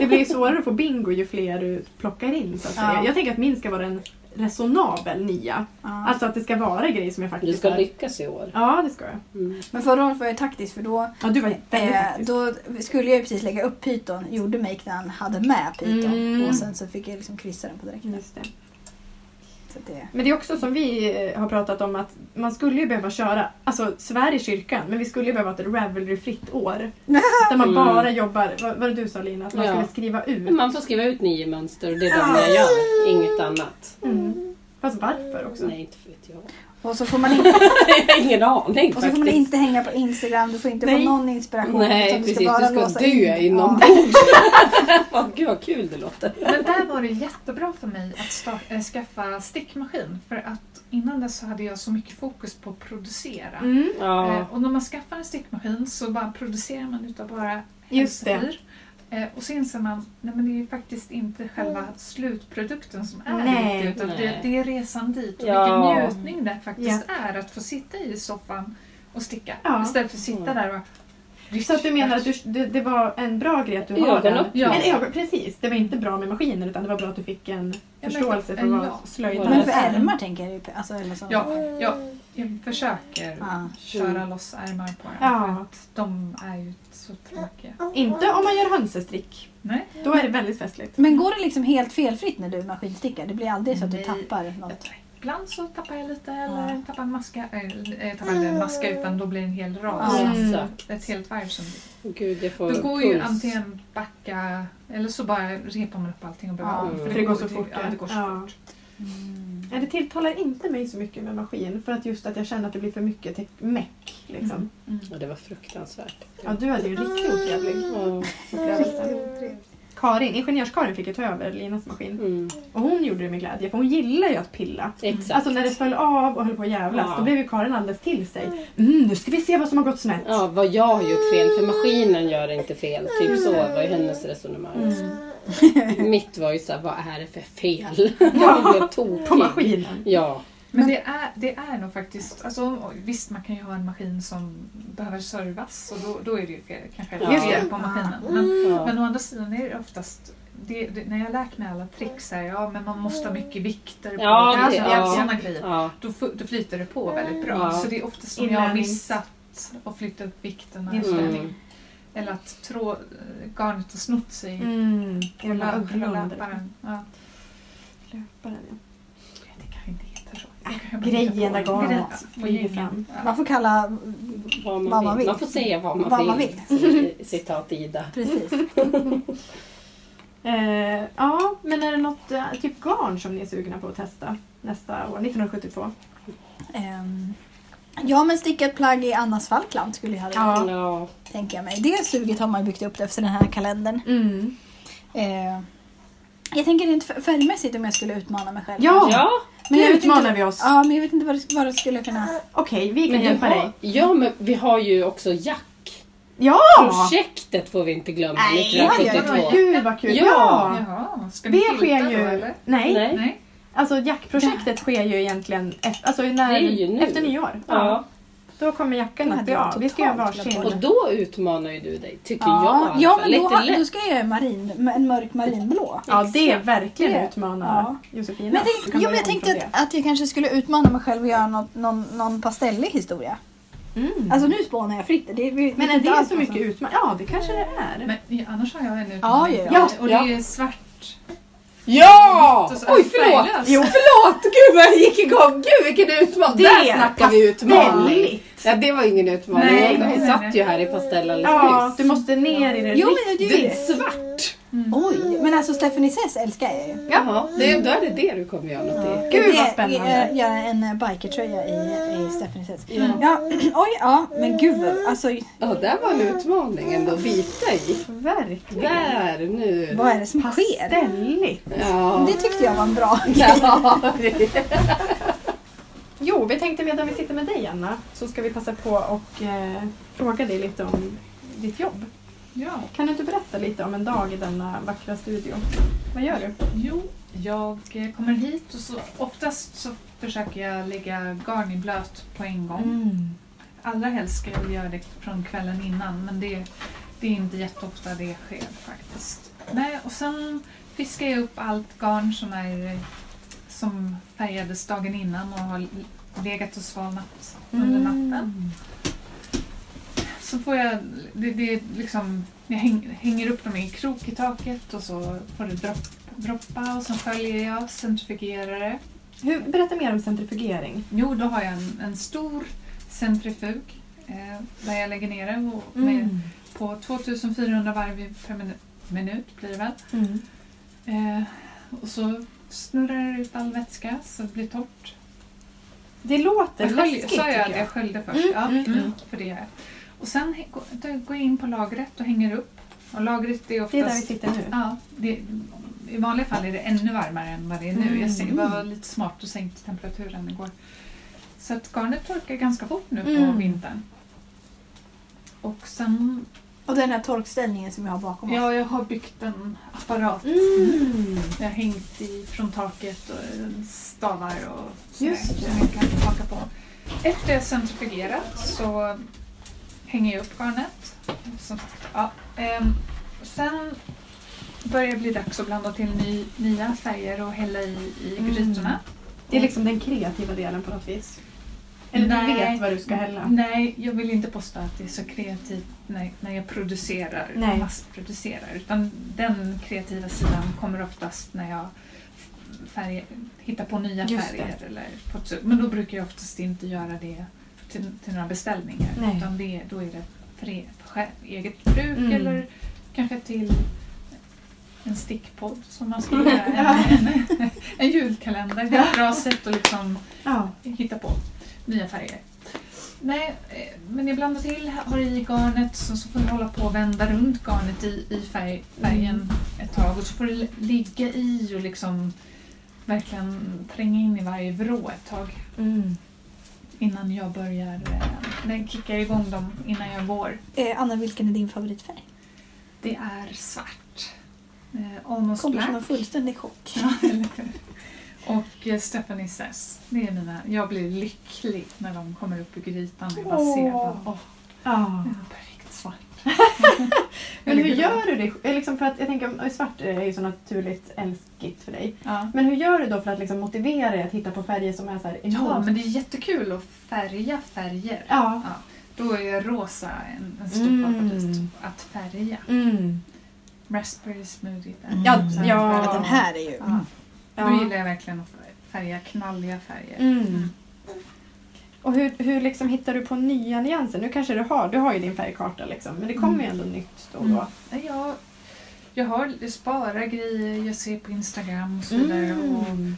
[SPEAKER 3] det blir svårare att få bingo ju fler du plockar in. Så att säga.
[SPEAKER 4] Ja.
[SPEAKER 3] Jag tänker att min ska vara en resonabel nia.
[SPEAKER 4] Ja.
[SPEAKER 3] Alltså att det ska vara grejer som jag faktiskt...
[SPEAKER 2] Du ska
[SPEAKER 3] har-
[SPEAKER 2] lyckas i år.
[SPEAKER 3] Ja, det ska jag.
[SPEAKER 2] Mm.
[SPEAKER 4] Men förra året var jag taktisk för då,
[SPEAKER 3] Ja, du var väldigt
[SPEAKER 4] eh,
[SPEAKER 3] taktisk.
[SPEAKER 4] då skulle jag ju precis lägga upp pyton. Gjorde Make när han hade med pyton.
[SPEAKER 3] Mm.
[SPEAKER 4] Och sen så fick jag liksom kryssa den på direkt.
[SPEAKER 3] Just det.
[SPEAKER 4] Så att det, [laughs]
[SPEAKER 3] Men det är också som vi eh, har pratat om att man skulle ju behöva köra, alltså Sverige i kyrkan, men vi skulle ju behöva ha ett Ravelry-fritt år. Där man
[SPEAKER 2] Mm.
[SPEAKER 3] bara jobbar, vad vad var det du sa Lina, att man
[SPEAKER 2] Ja.
[SPEAKER 3] skulle skriva
[SPEAKER 2] Men
[SPEAKER 3] ut.
[SPEAKER 2] Man får skriva ut nio mönster och det är de jag gör, inget annat.
[SPEAKER 3] Mm. Fast varför också?
[SPEAKER 2] Nej, inte vet jag.
[SPEAKER 4] och så får man inte
[SPEAKER 2] Jag har ingen aning
[SPEAKER 4] Och så får man
[SPEAKER 2] faktiskt.
[SPEAKER 4] inte hänga på Instagram, du får inte
[SPEAKER 3] Nej.
[SPEAKER 4] få någon inspiration.
[SPEAKER 2] Nej,
[SPEAKER 4] utan
[SPEAKER 2] precis. Du ska
[SPEAKER 4] låsa
[SPEAKER 2] dö
[SPEAKER 4] in.
[SPEAKER 2] inombords. [laughs] Åh, Gud vad kul det låter.
[SPEAKER 1] Men där var det jättebra för mig att sta- äh, skaffa stickmaskin. För att innan dess så hade jag så mycket fokus på att producera.
[SPEAKER 3] Mm.
[SPEAKER 2] Ja.
[SPEAKER 1] Eh, Och när man skaffar en stickmaskin så bara producerar man utav bara
[SPEAKER 3] Just det.
[SPEAKER 1] hälsofyr. Eh, Och så inser man, nej men det är ju faktiskt inte själva slutprodukten som är
[SPEAKER 3] Mm. Nej,
[SPEAKER 1] viktig utan det,
[SPEAKER 2] nej.
[SPEAKER 1] det är resan dit och
[SPEAKER 2] Ja.
[SPEAKER 1] vilken njutning det faktiskt är att få sitta i soffan och sticka
[SPEAKER 3] Ja.
[SPEAKER 1] istället för att sitta
[SPEAKER 2] Mm.
[SPEAKER 1] där och...
[SPEAKER 3] Så att du menar att du, det, det var en bra grej att du har den?
[SPEAKER 2] Ögonöppnare.
[SPEAKER 3] Ja. En ögon, precis, det var inte bra med maskiner utan det var bra att du fick en
[SPEAKER 1] men-
[SPEAKER 3] förståelse för vad
[SPEAKER 1] ja.
[SPEAKER 3] slöjd
[SPEAKER 2] Men
[SPEAKER 4] Men för
[SPEAKER 3] är.
[SPEAKER 4] ärmar tänker jag ju. Alltså, eller så.
[SPEAKER 1] Ja, ja, jag försöker
[SPEAKER 2] Mm.
[SPEAKER 4] Ja.
[SPEAKER 1] köra loss ärmar på dem.
[SPEAKER 3] Ja.
[SPEAKER 1] De är ju så tråkiga.
[SPEAKER 3] Inte om man gör hönsestrick,
[SPEAKER 1] Nej,
[SPEAKER 3] då är det väldigt festligt.
[SPEAKER 4] Men går det liksom helt felfritt när du maskinstickar? Det blir aldrig så att du
[SPEAKER 1] Nej.
[SPEAKER 4] tappar något?
[SPEAKER 1] ibland så tappar jag lite eller tappar en maska. Eller eh, tappar inte en maska
[SPEAKER 2] Mm.
[SPEAKER 1] utan då blir det en hel rad. Mm.
[SPEAKER 4] Ja.
[SPEAKER 2] Exakt.
[SPEAKER 1] Ett helt varv som blir.
[SPEAKER 2] Mm. Gud, jag får
[SPEAKER 1] Då går ju
[SPEAKER 2] puls.
[SPEAKER 1] antingen backa eller så bara repar man upp allting och börjar
[SPEAKER 4] Ja,
[SPEAKER 1] om.
[SPEAKER 2] för
[SPEAKER 3] det går så fort,
[SPEAKER 1] Ja,
[SPEAKER 3] ja.
[SPEAKER 1] det går så
[SPEAKER 3] Ja.
[SPEAKER 1] fort.
[SPEAKER 3] Ja, det tilltalar inte mig så mycket med maskin för att just att jag känner att det blir för mycket te- meck. Liksom.
[SPEAKER 1] Mm. Mm.
[SPEAKER 2] Ja, det var fruktansvärt.
[SPEAKER 3] Ja, du hade ju en riktigt otrevlig
[SPEAKER 2] Ja.
[SPEAKER 3] upplevelse. Karin, ingenjörskarin fick ju ta över Linas maskin
[SPEAKER 2] Mm.
[SPEAKER 3] och hon gjorde det med glädje för hon gillar ju att pilla.
[SPEAKER 2] Exakt.
[SPEAKER 3] Alltså när det föll av och höll på att jävlas
[SPEAKER 2] Ja.
[SPEAKER 3] då blev ju Karin alldeles till sig. Mm, nu ska vi se vad som har gått snett.
[SPEAKER 2] Ja, vad jag har gjort fel. För maskinen gör inte fel. Typ så var ju hennes resonemang.
[SPEAKER 3] Mm.
[SPEAKER 2] Mitt var ju såhär, vad är det för fel? Jag blev
[SPEAKER 3] På
[SPEAKER 2] tokig.
[SPEAKER 3] maskinen.
[SPEAKER 2] Ja.
[SPEAKER 1] Men det är, det är nog faktiskt, alltså, om- visst man kan ju ha en maskin som behöver servas och då, då är det ju fel, kanske
[SPEAKER 2] Ja.
[SPEAKER 1] fel på maskinen. Men
[SPEAKER 2] ja.
[SPEAKER 1] Men å andra sidan är det oftast, det, det, när jag har lärt mig alla tricks här, ja men man måste ha mycket vikter på
[SPEAKER 2] Ja,
[SPEAKER 1] alltså,
[SPEAKER 2] det- ja.
[SPEAKER 1] sådana grejer.
[SPEAKER 2] ja.
[SPEAKER 1] Då, fu- då flyter det på väldigt bra.
[SPEAKER 2] Ja.
[SPEAKER 1] Så det är oftast som jag har
[SPEAKER 3] Inlärning.
[SPEAKER 1] missat att flytta upp vikterna.
[SPEAKER 3] Just det.
[SPEAKER 2] Mm.
[SPEAKER 1] Eller att trå, garnet har snott sig.
[SPEAKER 3] Mm.
[SPEAKER 1] Och
[SPEAKER 3] Jävla
[SPEAKER 1] lö-
[SPEAKER 3] Ugglund.
[SPEAKER 1] löparen. Ja.
[SPEAKER 3] Löparen, ja. Ah,
[SPEAKER 1] Det kanske inte heter så. Det kanske jag bara
[SPEAKER 3] Grejen
[SPEAKER 1] hittar
[SPEAKER 3] där
[SPEAKER 1] på.
[SPEAKER 3] garnet
[SPEAKER 1] Grejen.
[SPEAKER 3] flyger fram.
[SPEAKER 1] Ja.
[SPEAKER 4] Mm. Man får kalla...
[SPEAKER 2] Vad man,
[SPEAKER 4] Vad
[SPEAKER 2] vill.
[SPEAKER 4] man vill.
[SPEAKER 2] Man får säga vad man
[SPEAKER 4] Vad
[SPEAKER 2] vill.
[SPEAKER 4] man vill.
[SPEAKER 2] C- Citat Ida.
[SPEAKER 4] Precis.
[SPEAKER 3] Eh, ja, men är det något eh, typ garn som ni är sugna på att testa nästa år, 1972?
[SPEAKER 4] Ehm, ja men stickat plagg i Annas Falkland skulle jag ha
[SPEAKER 3] Ja.
[SPEAKER 4] ja.
[SPEAKER 2] Ja.
[SPEAKER 4] tänker jag mig. Det suget har man byggt upp efter den här kalendern.
[SPEAKER 3] Mm.
[SPEAKER 4] Ehm, jag tänker rent f- färgmässigt om jag skulle utmana mig själv.
[SPEAKER 3] Ja!
[SPEAKER 2] ja.
[SPEAKER 3] Men
[SPEAKER 4] Men
[SPEAKER 3] nu
[SPEAKER 4] jag vet
[SPEAKER 3] utmanar
[SPEAKER 4] inte-
[SPEAKER 3] vi oss.
[SPEAKER 4] Ja, men jag vet inte vad det, vad det skulle kunna...
[SPEAKER 3] Okej, vi kan
[SPEAKER 2] Men, du
[SPEAKER 3] hjälpa
[SPEAKER 2] har,
[SPEAKER 3] dig.
[SPEAKER 2] ja, men vi har ju också Jack.
[SPEAKER 3] Ja!
[SPEAKER 2] Projektet får vi inte glömma.
[SPEAKER 4] Nej,
[SPEAKER 2] 1972.
[SPEAKER 1] ja, ja, ja.
[SPEAKER 3] Gud vad kul!
[SPEAKER 2] Ja.
[SPEAKER 3] Ja!
[SPEAKER 1] Jaha, ska ni
[SPEAKER 3] Det
[SPEAKER 1] filta
[SPEAKER 3] sker
[SPEAKER 1] då
[SPEAKER 3] ju...
[SPEAKER 1] eller?
[SPEAKER 3] Nej.
[SPEAKER 2] Nej.
[SPEAKER 1] Nej.
[SPEAKER 3] alltså jackprojektet sker ju egentligen efter, alltså när,
[SPEAKER 2] Det är ju nu.
[SPEAKER 3] efter nyår.
[SPEAKER 2] Ja.
[SPEAKER 3] Då kommer jackan
[SPEAKER 4] Det
[SPEAKER 3] att
[SPEAKER 4] hade
[SPEAKER 3] bli
[SPEAKER 4] jag
[SPEAKER 3] av. Vi ska göra
[SPEAKER 4] totalt glömt
[SPEAKER 3] varsin.
[SPEAKER 2] Och då utmanar ju du dig, tycker
[SPEAKER 4] Ja,
[SPEAKER 2] jag. i alla
[SPEAKER 4] ja
[SPEAKER 2] fall.
[SPEAKER 4] men då,
[SPEAKER 2] Lite
[SPEAKER 4] har-
[SPEAKER 2] lätt.
[SPEAKER 4] då ska jag göra en marin, en mörk marinblå.
[SPEAKER 3] Ja, det är verkligen
[SPEAKER 4] Det-
[SPEAKER 3] utmanar Josefina.
[SPEAKER 4] Men jag,
[SPEAKER 3] Du
[SPEAKER 4] tänk, jo,
[SPEAKER 3] kan
[SPEAKER 4] men
[SPEAKER 3] börja
[SPEAKER 4] jag
[SPEAKER 3] om
[SPEAKER 4] tänkte
[SPEAKER 3] från
[SPEAKER 4] att, att jag kanske skulle utmana mig själv och göra något, någon, någon pastellig historia.
[SPEAKER 3] det. Mm.
[SPEAKER 4] Alltså nu spånar jag fritt. Det, vi,
[SPEAKER 3] men
[SPEAKER 4] det alltså-
[SPEAKER 3] är det
[SPEAKER 4] alls
[SPEAKER 3] så
[SPEAKER 4] vad
[SPEAKER 3] mycket
[SPEAKER 4] som-
[SPEAKER 3] utmaning? Ja, det kanske det är.
[SPEAKER 1] Men ja, annars har jag en
[SPEAKER 4] Ja, ja,
[SPEAKER 1] ja.
[SPEAKER 4] ja.
[SPEAKER 1] Och
[SPEAKER 2] Ja.
[SPEAKER 1] det är svart.
[SPEAKER 2] Ja!
[SPEAKER 1] Så- så-
[SPEAKER 2] Oj, förlåt!
[SPEAKER 1] färglös.
[SPEAKER 2] Jo, förlåt! Gud vad jag gick igång! Gud vilken utmaning!
[SPEAKER 3] Det
[SPEAKER 2] Där snackar vi utmaning!
[SPEAKER 3] pastelligt.
[SPEAKER 2] Ja, det var ingen utmaning.
[SPEAKER 1] Nej,
[SPEAKER 2] Hon
[SPEAKER 1] nej, nej.
[SPEAKER 2] satt ju här i pastell alldeles
[SPEAKER 3] Ja,
[SPEAKER 2] nyss.
[SPEAKER 3] du måste ner i det
[SPEAKER 4] Jo men jag
[SPEAKER 2] Det
[SPEAKER 4] gör
[SPEAKER 2] är
[SPEAKER 4] det.
[SPEAKER 2] svart!
[SPEAKER 1] Mm.
[SPEAKER 4] Oj! Men alltså Stephanie Sess älskar jag ju.
[SPEAKER 2] Jaha, det, då är det det du kommer göra något i.
[SPEAKER 3] Gud, vad
[SPEAKER 4] Det är-
[SPEAKER 3] spännande.
[SPEAKER 4] är- Göra en eh, bikertröja i, i Stephanie Sess.
[SPEAKER 2] Ja.
[SPEAKER 4] Ja, oj, ja, men gud vad, alltså
[SPEAKER 2] Ja, där var en utmaning ändå att bita i.
[SPEAKER 3] Verkligen.
[SPEAKER 2] Där, nu.
[SPEAKER 4] vad är det som sker?
[SPEAKER 3] Pastelligt.
[SPEAKER 2] Ja.
[SPEAKER 4] Det tyckte jag var en bra
[SPEAKER 2] [laughs] Ja, det-
[SPEAKER 3] Jo, vi tänkte medan vi sitter med dig Anna så ska vi passa på och eh, fråga dig lite om ditt jobb.
[SPEAKER 1] Ja,
[SPEAKER 3] Kan du inte berätta lite om en dag i denna vackra studio? Vad gör du?
[SPEAKER 1] jo, jag eh, kommer hit och så oftast så försöker jag lägga garn i blöt på en gång.
[SPEAKER 4] Mm.
[SPEAKER 1] Allra helst ska jag göra det från kvällen innan men det, det är inte jätteofta det sker faktiskt. Nej, och sen fiskar jag upp allt garn som, är, som färgades dagen innan och har legat och svalnat
[SPEAKER 3] Mm.
[SPEAKER 1] under natten. Så får jag, det, det är liksom, jag häng, hänger upp dem i en krok i taket och så får det dropp, droppa och sen sköljer jag, centrifugerar det.
[SPEAKER 3] Hur, berätta mer om centrifugering.
[SPEAKER 1] Jo, då har jag en, en stor centrifug eh, där jag lägger ner det och med,
[SPEAKER 3] Mm.
[SPEAKER 1] på 2400 varv per minu- minut blir det väl.
[SPEAKER 3] Mm.
[SPEAKER 1] Eh, och så snurrar det ut all vätska så det blir torrt.
[SPEAKER 3] Det låter
[SPEAKER 1] Jag skölj-
[SPEAKER 3] läskigt
[SPEAKER 1] Sa jag att
[SPEAKER 3] tycker
[SPEAKER 1] jag
[SPEAKER 3] jag.
[SPEAKER 1] sköljde först?
[SPEAKER 3] Mm,
[SPEAKER 1] ja,
[SPEAKER 3] mm,
[SPEAKER 1] mm,
[SPEAKER 3] mm.
[SPEAKER 1] för det gör jag. Och sen hä- gå- då går jag in på lagret och hänger upp. Och lagret är oftast...
[SPEAKER 3] Det är där vi sitter nu.
[SPEAKER 1] Ja, det, I vanliga fall är det ännu varmare än vad det är nu. Jag
[SPEAKER 3] Mm.
[SPEAKER 1] sänkte- var lite smart och sänkte temperaturen igår. Så att garnet torkar ganska fort nu på
[SPEAKER 3] Mm.
[SPEAKER 1] vintern. Och sen
[SPEAKER 4] Och den här torkställningen som jag har bakom oss.
[SPEAKER 1] Ja, jag har byggt en apparat.
[SPEAKER 3] Mm.
[SPEAKER 1] Jag har hängt i från taket och stavar och sådär
[SPEAKER 3] Just det.
[SPEAKER 1] som jag kan haka på. Efter jag centrifugerat så hänger jag upp garnet. Som sagt, ja. Ehm, sen börjar det bli dags att blanda till ny, nya färger och hälla i, i
[SPEAKER 3] Mm.
[SPEAKER 1] grytorna.
[SPEAKER 3] Det är liksom den kreativa delen på något vis. Eller du
[SPEAKER 1] Nej.
[SPEAKER 3] vet vad du ska hälla.
[SPEAKER 1] Nej, jag vill inte påstå att det är så kreativt när, när jag producerar,
[SPEAKER 3] Nej.
[SPEAKER 1] massproducerar. Utan den kreativa sidan kommer oftast när jag färg, hittar på nya
[SPEAKER 3] Just det.
[SPEAKER 1] färger. Eller får ett sug. men då brukar jag oftast inte göra det till, till några beställningar.
[SPEAKER 3] Nej.
[SPEAKER 1] Utan det, då är det för, e, för själv, eget bruk
[SPEAKER 3] Mm.
[SPEAKER 1] eller kanske till en stickpodd som man
[SPEAKER 3] [laughs]
[SPEAKER 1] skulle göra. En, en, [laughs] en julkalender. Det är ett bra sätt att liksom
[SPEAKER 3] Ja.
[SPEAKER 1] hitta på nya färger. Nej, eh, men jag blandar till, har i garnet så, så får jag hålla på och vända runt garnet i, i färg, färgen
[SPEAKER 3] Mm.
[SPEAKER 1] ett tag och så får det li- ligga i och liksom verkligen tränga in i varje vrå ett tag
[SPEAKER 3] Mm.
[SPEAKER 1] innan jag börjar, eh, nej, kickar igång dem innan jag går.
[SPEAKER 4] Eh, Anna, vilken är din favoritfärg?
[SPEAKER 1] Det är svart. Eh, Almost
[SPEAKER 4] Kommer
[SPEAKER 1] black.
[SPEAKER 4] som en fullständig chock.
[SPEAKER 1] [laughs] Ja, eller hur? och eh, Stephanie Sess. Det är mina, jag blir lycklig när de kommer upp i grytan och jag bara ser
[SPEAKER 4] Åh.
[SPEAKER 1] dem. Åh,
[SPEAKER 3] Ja.
[SPEAKER 1] Den är perfekt [laughs] svart.
[SPEAKER 3] Men hur
[SPEAKER 1] Eller grå.
[SPEAKER 3] gör du det? Eh, Liksom för att, jag tänker, eh, svart är ju så naturligt älskigt för dig.
[SPEAKER 1] Ja.
[SPEAKER 3] Men hur gör du då för att liksom motivera dig att hitta på färger som är så här
[SPEAKER 1] ja,
[SPEAKER 3] enormt?
[SPEAKER 1] men det är jättekul att färga färger.
[SPEAKER 3] ja.
[SPEAKER 1] Då är rosa en, en stor
[SPEAKER 3] Mm.
[SPEAKER 1] favorit att färga.
[SPEAKER 2] Mm.
[SPEAKER 1] Raspberry smoothie där.
[SPEAKER 4] Mm.
[SPEAKER 3] Ja,
[SPEAKER 1] Så här
[SPEAKER 3] ja.
[SPEAKER 1] färger.
[SPEAKER 4] Den här är ju...
[SPEAKER 1] Ja.
[SPEAKER 3] Ja.
[SPEAKER 1] Då gillar jag verkligen att färga knalliga färger.
[SPEAKER 3] Mm. Och hur, hur liksom hittar du på nya nyanser? Nu kanske du har, du har ju din färgkarta liksom, men det kommer
[SPEAKER 2] Mm.
[SPEAKER 3] ju ändå nytt då och då.
[SPEAKER 1] Nej, Jag, jag har jag sparar grejer, jag ser på Instagram och så vidare.
[SPEAKER 3] Mm.
[SPEAKER 1] Och
[SPEAKER 2] Mm.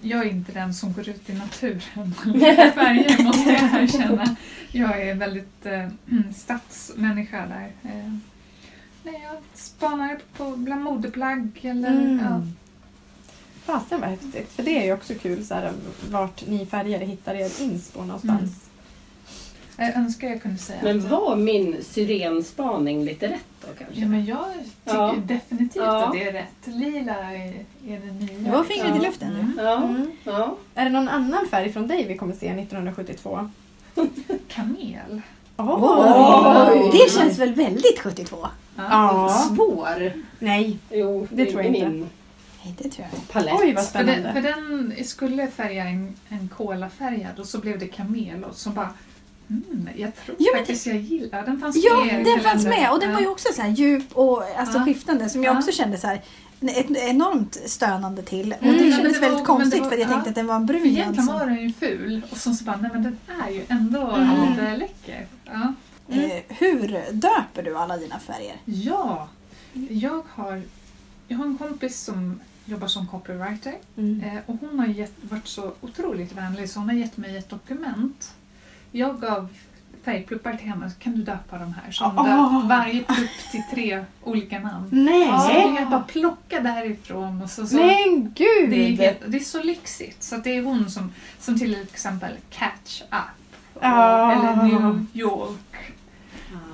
[SPEAKER 1] jag är inte den som går ut i naturen [laughs] färger måste jag erkänna. Jag är väldigt eh, [clears throat] stadsmänniska där. Eh, nej, jag spanar på bland modeplagg eller
[SPEAKER 3] Mm.
[SPEAKER 1] ja.
[SPEAKER 3] Fasen vad häftigt, för det är ju också kul så här, vart ni färgare hittar er inspo någonstans.
[SPEAKER 1] Jag önskar jag kunde säga
[SPEAKER 2] Men
[SPEAKER 1] att-
[SPEAKER 2] var min syrenspaning lite rätt då kanske?
[SPEAKER 1] Ja, men jag tycker
[SPEAKER 2] Ja.
[SPEAKER 1] definitivt
[SPEAKER 2] Ja.
[SPEAKER 1] att det är rätt. Lila är, är det nya.
[SPEAKER 4] Det var fingret
[SPEAKER 2] Ja.
[SPEAKER 4] i luften nu.
[SPEAKER 1] Mm.
[SPEAKER 2] Ja,
[SPEAKER 3] Mm.
[SPEAKER 2] ja.
[SPEAKER 3] Är det någon annan färg från dig vi kommer se 1972?
[SPEAKER 1] Kanel.
[SPEAKER 3] Åh!
[SPEAKER 2] Oj!
[SPEAKER 4] Det känns väl väldigt 72?
[SPEAKER 3] Ja.
[SPEAKER 2] Svår.
[SPEAKER 3] Nej.
[SPEAKER 2] Jo,
[SPEAKER 3] Det tror jag
[SPEAKER 2] min
[SPEAKER 3] inte.
[SPEAKER 4] Nej, det tror jag inte.
[SPEAKER 2] palett.
[SPEAKER 3] Oj vad
[SPEAKER 1] För den, för
[SPEAKER 3] spännande.
[SPEAKER 1] den skulle färga en, en kolafärgad och så blev det kamel och så bara mm, jag tror
[SPEAKER 4] Ja, men
[SPEAKER 1] faktiskt jag gillar den. fanns med i
[SPEAKER 4] Ja, den
[SPEAKER 1] kalendern.
[SPEAKER 4] fanns med och den
[SPEAKER 1] Ja.
[SPEAKER 4] var ju också så här djup och alltså
[SPEAKER 1] Ja.
[SPEAKER 4] skiftande som jag
[SPEAKER 1] Ja.
[SPEAKER 4] också kände så här ett enormt stönande till. Och
[SPEAKER 3] Mm,
[SPEAKER 4] det
[SPEAKER 3] men
[SPEAKER 4] kändes
[SPEAKER 1] det var-
[SPEAKER 4] väldigt
[SPEAKER 1] men
[SPEAKER 4] konstigt
[SPEAKER 1] det var-
[SPEAKER 4] för jag
[SPEAKER 1] ja.
[SPEAKER 4] tänkte att den var en brun
[SPEAKER 1] För egentligen
[SPEAKER 4] Jönsson.
[SPEAKER 1] var den ju ful och sen så bara, nej men den är ju ändå
[SPEAKER 4] Mm.
[SPEAKER 1] lite läcker. Ja.
[SPEAKER 4] Eh, Hur döper du alla dina färger?
[SPEAKER 1] ja, Jag har, jag har en kompis som jobbar som copywriter
[SPEAKER 3] Mm.
[SPEAKER 1] Eh, Och hon har gett, varit så otroligt vänlig så hon har gett mig ett dokument. Jag gav färgpluppar till henne, kan du döpa de här? Så hon
[SPEAKER 3] Ah.
[SPEAKER 1] döpt varje plupp till tre olika namn.
[SPEAKER 3] Nej!
[SPEAKER 1] Så fick jag bara plocka därifrån. Och så, så,
[SPEAKER 3] Men gud!
[SPEAKER 1] det, är, helt- det är så lyxigt. Så att det är hon som, som till exempel Catch Up. och-
[SPEAKER 3] Ah.
[SPEAKER 1] Eller New York.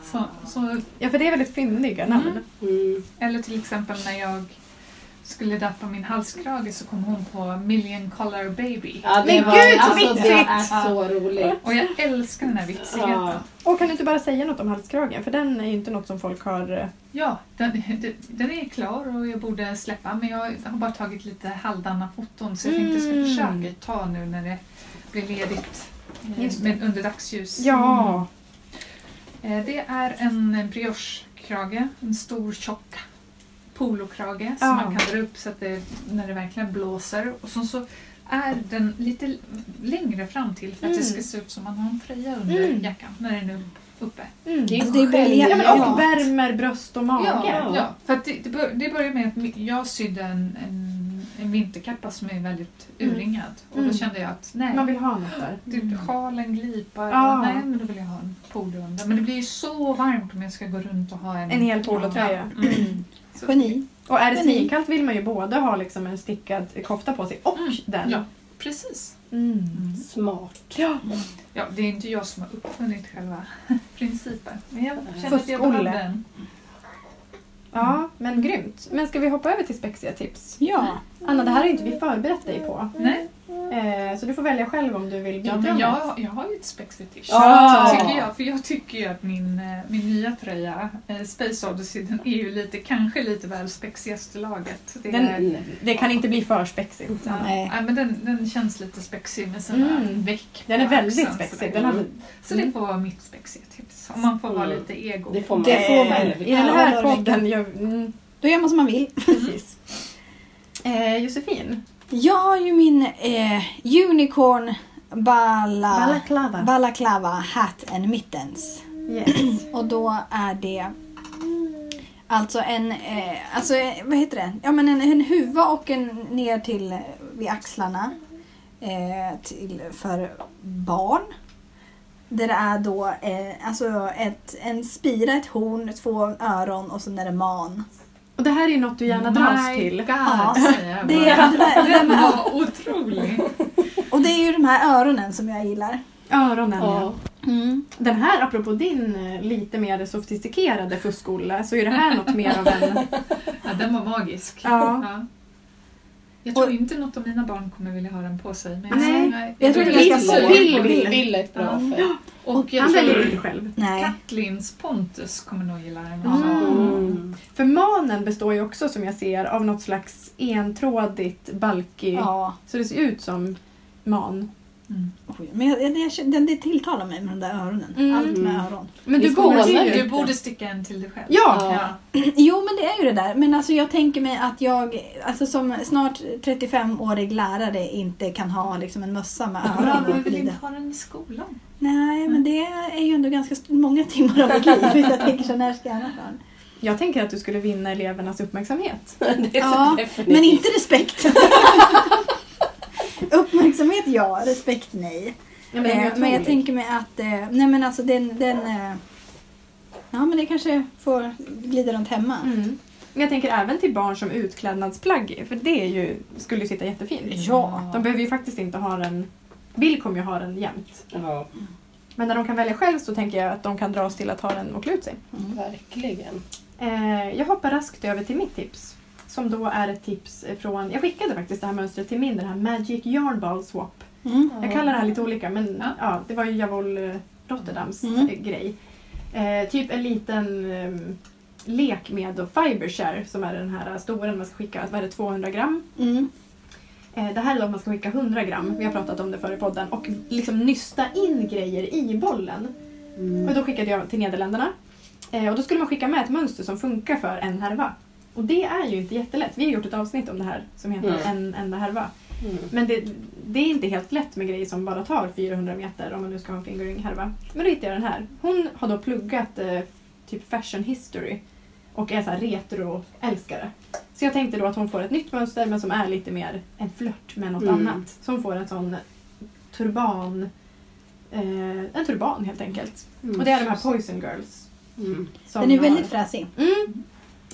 [SPEAKER 1] Så, så,
[SPEAKER 3] Ja, för det är väldigt fyndiga namn.
[SPEAKER 1] Mm.
[SPEAKER 2] Mm.
[SPEAKER 1] eller till exempel när jag skulle döpa min halskrage så kom hon på Million Color Baby.
[SPEAKER 2] Ja, det
[SPEAKER 3] Men
[SPEAKER 2] var,
[SPEAKER 3] gud, så
[SPEAKER 2] alltså, det
[SPEAKER 3] viktigt!
[SPEAKER 2] är så roligt.
[SPEAKER 1] Och jag älskar den här vitsigheten.
[SPEAKER 2] Ja.
[SPEAKER 3] Och kan du inte bara säga något om halskragen? För den är ju inte något som folk har... eh,
[SPEAKER 1] Ja, den, den- den är klar och jag borde släppa men jag har bara tagit lite halvdana foton så jag tänkte jag ska
[SPEAKER 3] Mm.
[SPEAKER 1] försöka ta nu när det blir ledigt eh,
[SPEAKER 3] Just det.
[SPEAKER 1] men under dagsljus.
[SPEAKER 3] Ja!
[SPEAKER 1] Eh, Det är en briochekrage, en stor tjock polokrage som
[SPEAKER 3] Ja.
[SPEAKER 1] man kan dra upp så att det, när det verkligen blåser. Och så, så är den lite l- längre fram till för att det
[SPEAKER 3] Mm.
[SPEAKER 1] ska se ut som man har en tröja under
[SPEAKER 3] Mm.
[SPEAKER 1] jackan när den är upp- uppe.
[SPEAKER 3] Mm.
[SPEAKER 2] Det är
[SPEAKER 4] Alltså, Det är briljant.
[SPEAKER 3] Ja, men,
[SPEAKER 2] genialt.
[SPEAKER 3] och värmer bröst och mage.
[SPEAKER 1] Ja, ja. För att det, det, bör, det började med att mi- jag sydde en, en, en vinterkappa som är väldigt
[SPEAKER 3] Mm.
[SPEAKER 1] urringad. Och då
[SPEAKER 3] Mm.
[SPEAKER 1] kände jag att nej,
[SPEAKER 3] Man vill ha något där.
[SPEAKER 1] du, sjalen glipar.
[SPEAKER 3] Ja.
[SPEAKER 1] Nej, men då vill jag ha en polo under. Men det blir ju så varmt om jag ska gå runt och ha en...
[SPEAKER 3] En hel polotröja.
[SPEAKER 1] Mm. Så-
[SPEAKER 4] Geni.
[SPEAKER 3] Och är det
[SPEAKER 4] Men ni-
[SPEAKER 3] svinkallt vill man ju både ha liksom en stickad kofta på sig och
[SPEAKER 1] Mm,
[SPEAKER 3] den.
[SPEAKER 1] Ja, precis.
[SPEAKER 3] Mm.
[SPEAKER 2] Smart.
[SPEAKER 3] Ja.
[SPEAKER 1] Ja, det är inte jag som har uppfunnit själva [laughs] principen. Men jag kände att jag
[SPEAKER 3] Fuskolle.
[SPEAKER 1] behövde den.
[SPEAKER 3] ja, men grymt. Men ska vi hoppa över till spexiga tips?
[SPEAKER 4] Ja.
[SPEAKER 3] Anna, det här har inte vi förberett dig på.
[SPEAKER 1] Nej,
[SPEAKER 3] Eh, så du får välja själv om du vill bidra
[SPEAKER 1] ja, men
[SPEAKER 3] med
[SPEAKER 1] jag, jag har ju ett spexigt ish.
[SPEAKER 2] Ja.
[SPEAKER 1] Tycker jag, för jag tycker ju att min, eh, min nya tröja, eh, Space Odyssey, den är ju lite, kanske lite väl spexigaste laget. Det
[SPEAKER 3] Den-
[SPEAKER 1] är,
[SPEAKER 2] Nej.
[SPEAKER 3] Det kan inte bli för spexigt.
[SPEAKER 1] ja,
[SPEAKER 4] nej.
[SPEAKER 1] nej, men den, den känns lite spexig med sina
[SPEAKER 3] Mm.
[SPEAKER 1] veck
[SPEAKER 3] Den är
[SPEAKER 1] på
[SPEAKER 3] väldigt
[SPEAKER 1] axeln,
[SPEAKER 3] spexig.
[SPEAKER 1] sådär.
[SPEAKER 3] Den hade...
[SPEAKER 1] Så det får vara mitt spexiga tips. Om man får vara
[SPEAKER 2] Mm.
[SPEAKER 1] lite ego.
[SPEAKER 2] Det får man.
[SPEAKER 4] Det får man.
[SPEAKER 2] Nej.
[SPEAKER 3] eh, I den
[SPEAKER 4] Ja,
[SPEAKER 3] här
[SPEAKER 4] det var
[SPEAKER 3] podden... Jag, mm,
[SPEAKER 4] Då gör man som man vill.
[SPEAKER 3] precis. Eh, Josefin.
[SPEAKER 4] Jag har ju min eh, Unicorn bala,
[SPEAKER 3] Balaklava.
[SPEAKER 4] balaklava hat and mittens.
[SPEAKER 3] yes.
[SPEAKER 4] Och då är det alltså en, eh, alltså, eh, vad heter det? Ja men en, en huva och en ner till eh, vid axlarna. Eh, till, för barn. Där det är då eh, alltså ett, en spira, ett horn, två öron och sen är det man.
[SPEAKER 3] Och det här är ju något du gärna dras till.
[SPEAKER 1] Ja,
[SPEAKER 4] Det är, det där, det där
[SPEAKER 1] Den
[SPEAKER 4] med, ö-
[SPEAKER 1] var otrolig.
[SPEAKER 4] och det är ju de här öronen som jag gillar.
[SPEAKER 3] Öronen, ja.
[SPEAKER 2] Ja.
[SPEAKER 3] Den här, apropå din eh, lite mer sofistikerade fuskolle, så är det här något mer av en...
[SPEAKER 1] Ja, den var magisk.
[SPEAKER 3] Ja.
[SPEAKER 1] Jag tror
[SPEAKER 4] Och-
[SPEAKER 1] inte något av mina barn kommer vilja ha den på sig. Men
[SPEAKER 3] Nej,
[SPEAKER 4] jag tror
[SPEAKER 1] är
[SPEAKER 4] det är
[SPEAKER 1] lite
[SPEAKER 4] ganska
[SPEAKER 1] sur.
[SPEAKER 4] bra.
[SPEAKER 3] Vill, vill.
[SPEAKER 2] Vill är ett bra
[SPEAKER 1] Ja.
[SPEAKER 2] för.
[SPEAKER 1] Och jag
[SPEAKER 3] Han väljer
[SPEAKER 1] tror
[SPEAKER 3] inte själv.
[SPEAKER 4] Nej.
[SPEAKER 1] Katlins Pontus kommer nog gilla den.
[SPEAKER 3] Mm.
[SPEAKER 2] Mm.
[SPEAKER 3] För manen består ju också, som jag ser, av något slags entrådigt, balkig...
[SPEAKER 4] Ja.
[SPEAKER 3] Så det ser ut som man.
[SPEAKER 1] Mm.
[SPEAKER 4] Oj, Men jag, jag, jag, det, det tilltalar mig med de där öronen.
[SPEAKER 3] Mm.
[SPEAKER 4] Allt med öron.
[SPEAKER 3] Men
[SPEAKER 2] Vi
[SPEAKER 3] du
[SPEAKER 2] skålar
[SPEAKER 3] borde
[SPEAKER 2] ju.
[SPEAKER 3] ju...
[SPEAKER 1] Du borde sticka en till dig själv.
[SPEAKER 3] Ja.
[SPEAKER 1] ja.
[SPEAKER 4] Jo men det är ju det där. Men alltså jag tänker mig att jag alltså som snart 35-årig lärare inte kan ha liksom en mössa med
[SPEAKER 1] Ja, men
[SPEAKER 4] öron.
[SPEAKER 1] vi [laughs] vill
[SPEAKER 4] i
[SPEAKER 1] inte
[SPEAKER 4] det.
[SPEAKER 1] ha den i skolan.
[SPEAKER 4] Nej men det är ju ändå ganska st- många timmar av mitt liv. [laughs] Så jag tänker så när ska jag annars ha den?
[SPEAKER 3] Jag tänker att du skulle vinna elevernas uppmärksamhet. [laughs]
[SPEAKER 2] Det är så
[SPEAKER 4] Ja,
[SPEAKER 2] definitivt.
[SPEAKER 4] Men inte respekt. [laughs] Uppmärksamhet ja, respekt nej.
[SPEAKER 3] Ja,
[SPEAKER 4] Eh, men jag tänker mig att, eh, nej men alltså den, den eh, ja men det kanske får glida runt hemma.
[SPEAKER 3] Mm. Men jag tänker även till barn som utklädnadsplagg, för det är ju, skulle ju sitta jättefint.
[SPEAKER 1] Ja.
[SPEAKER 3] De behöver ju faktiskt inte ha den... Vill kommer ju ha den jämt.
[SPEAKER 2] Ja,
[SPEAKER 3] Men när de kan välja själv så tänker jag att de kan dras till att ha den och klä ut sig.
[SPEAKER 4] Mm.
[SPEAKER 2] verkligen.
[SPEAKER 3] Eh, jag hoppar raskt över till mitt tips. Som då är ett tips från... Jag skickade faktiskt det här mönstret till min, den här Magic Yarn Ball Swap.
[SPEAKER 4] Mm.
[SPEAKER 3] Jag kallar det här lite olika men
[SPEAKER 1] Ja.
[SPEAKER 3] ja. det var ju Javol eh, Rotterdams
[SPEAKER 4] Mm.
[SPEAKER 3] eh, grej. Eh, typ en liten ehm, lek med då Fibershare som är den här stora man ska skicka, vad är det, 200 gram?
[SPEAKER 4] Mm.
[SPEAKER 3] Eh, Det här är då att man ska skicka 100 gram, vi har pratat om det förr i podden, och liksom nysta in grejer i bollen.
[SPEAKER 2] Mm.
[SPEAKER 3] Och då skickade jag till Nederländerna. Eh, Och då skulle man skicka med ett mönster som funkar för en härva. Och det är ju inte jättelätt. Vi har gjort ett avsnitt om det här som heter
[SPEAKER 2] Mm.
[SPEAKER 3] En enda härva.
[SPEAKER 2] Mm.
[SPEAKER 3] Men det, det är inte helt lätt med grejer som bara tar 400 meter om man nu ska ha en fingering härva. Men då hittade jag den här. Hon har då pluggat eh, typ fashion history och är så här retro-älskare. Så jag tänkte då att hon får ett nytt mönster men som är lite mer en flört med något
[SPEAKER 2] Mm.
[SPEAKER 3] annat. Så hon får en sån turban, eh, en turban helt enkelt.
[SPEAKER 2] Mm.
[SPEAKER 3] Och det är de här Poison Girls.
[SPEAKER 2] Mm.
[SPEAKER 3] som
[SPEAKER 4] Den är
[SPEAKER 3] har-
[SPEAKER 4] väldigt fräsig.
[SPEAKER 3] Mm.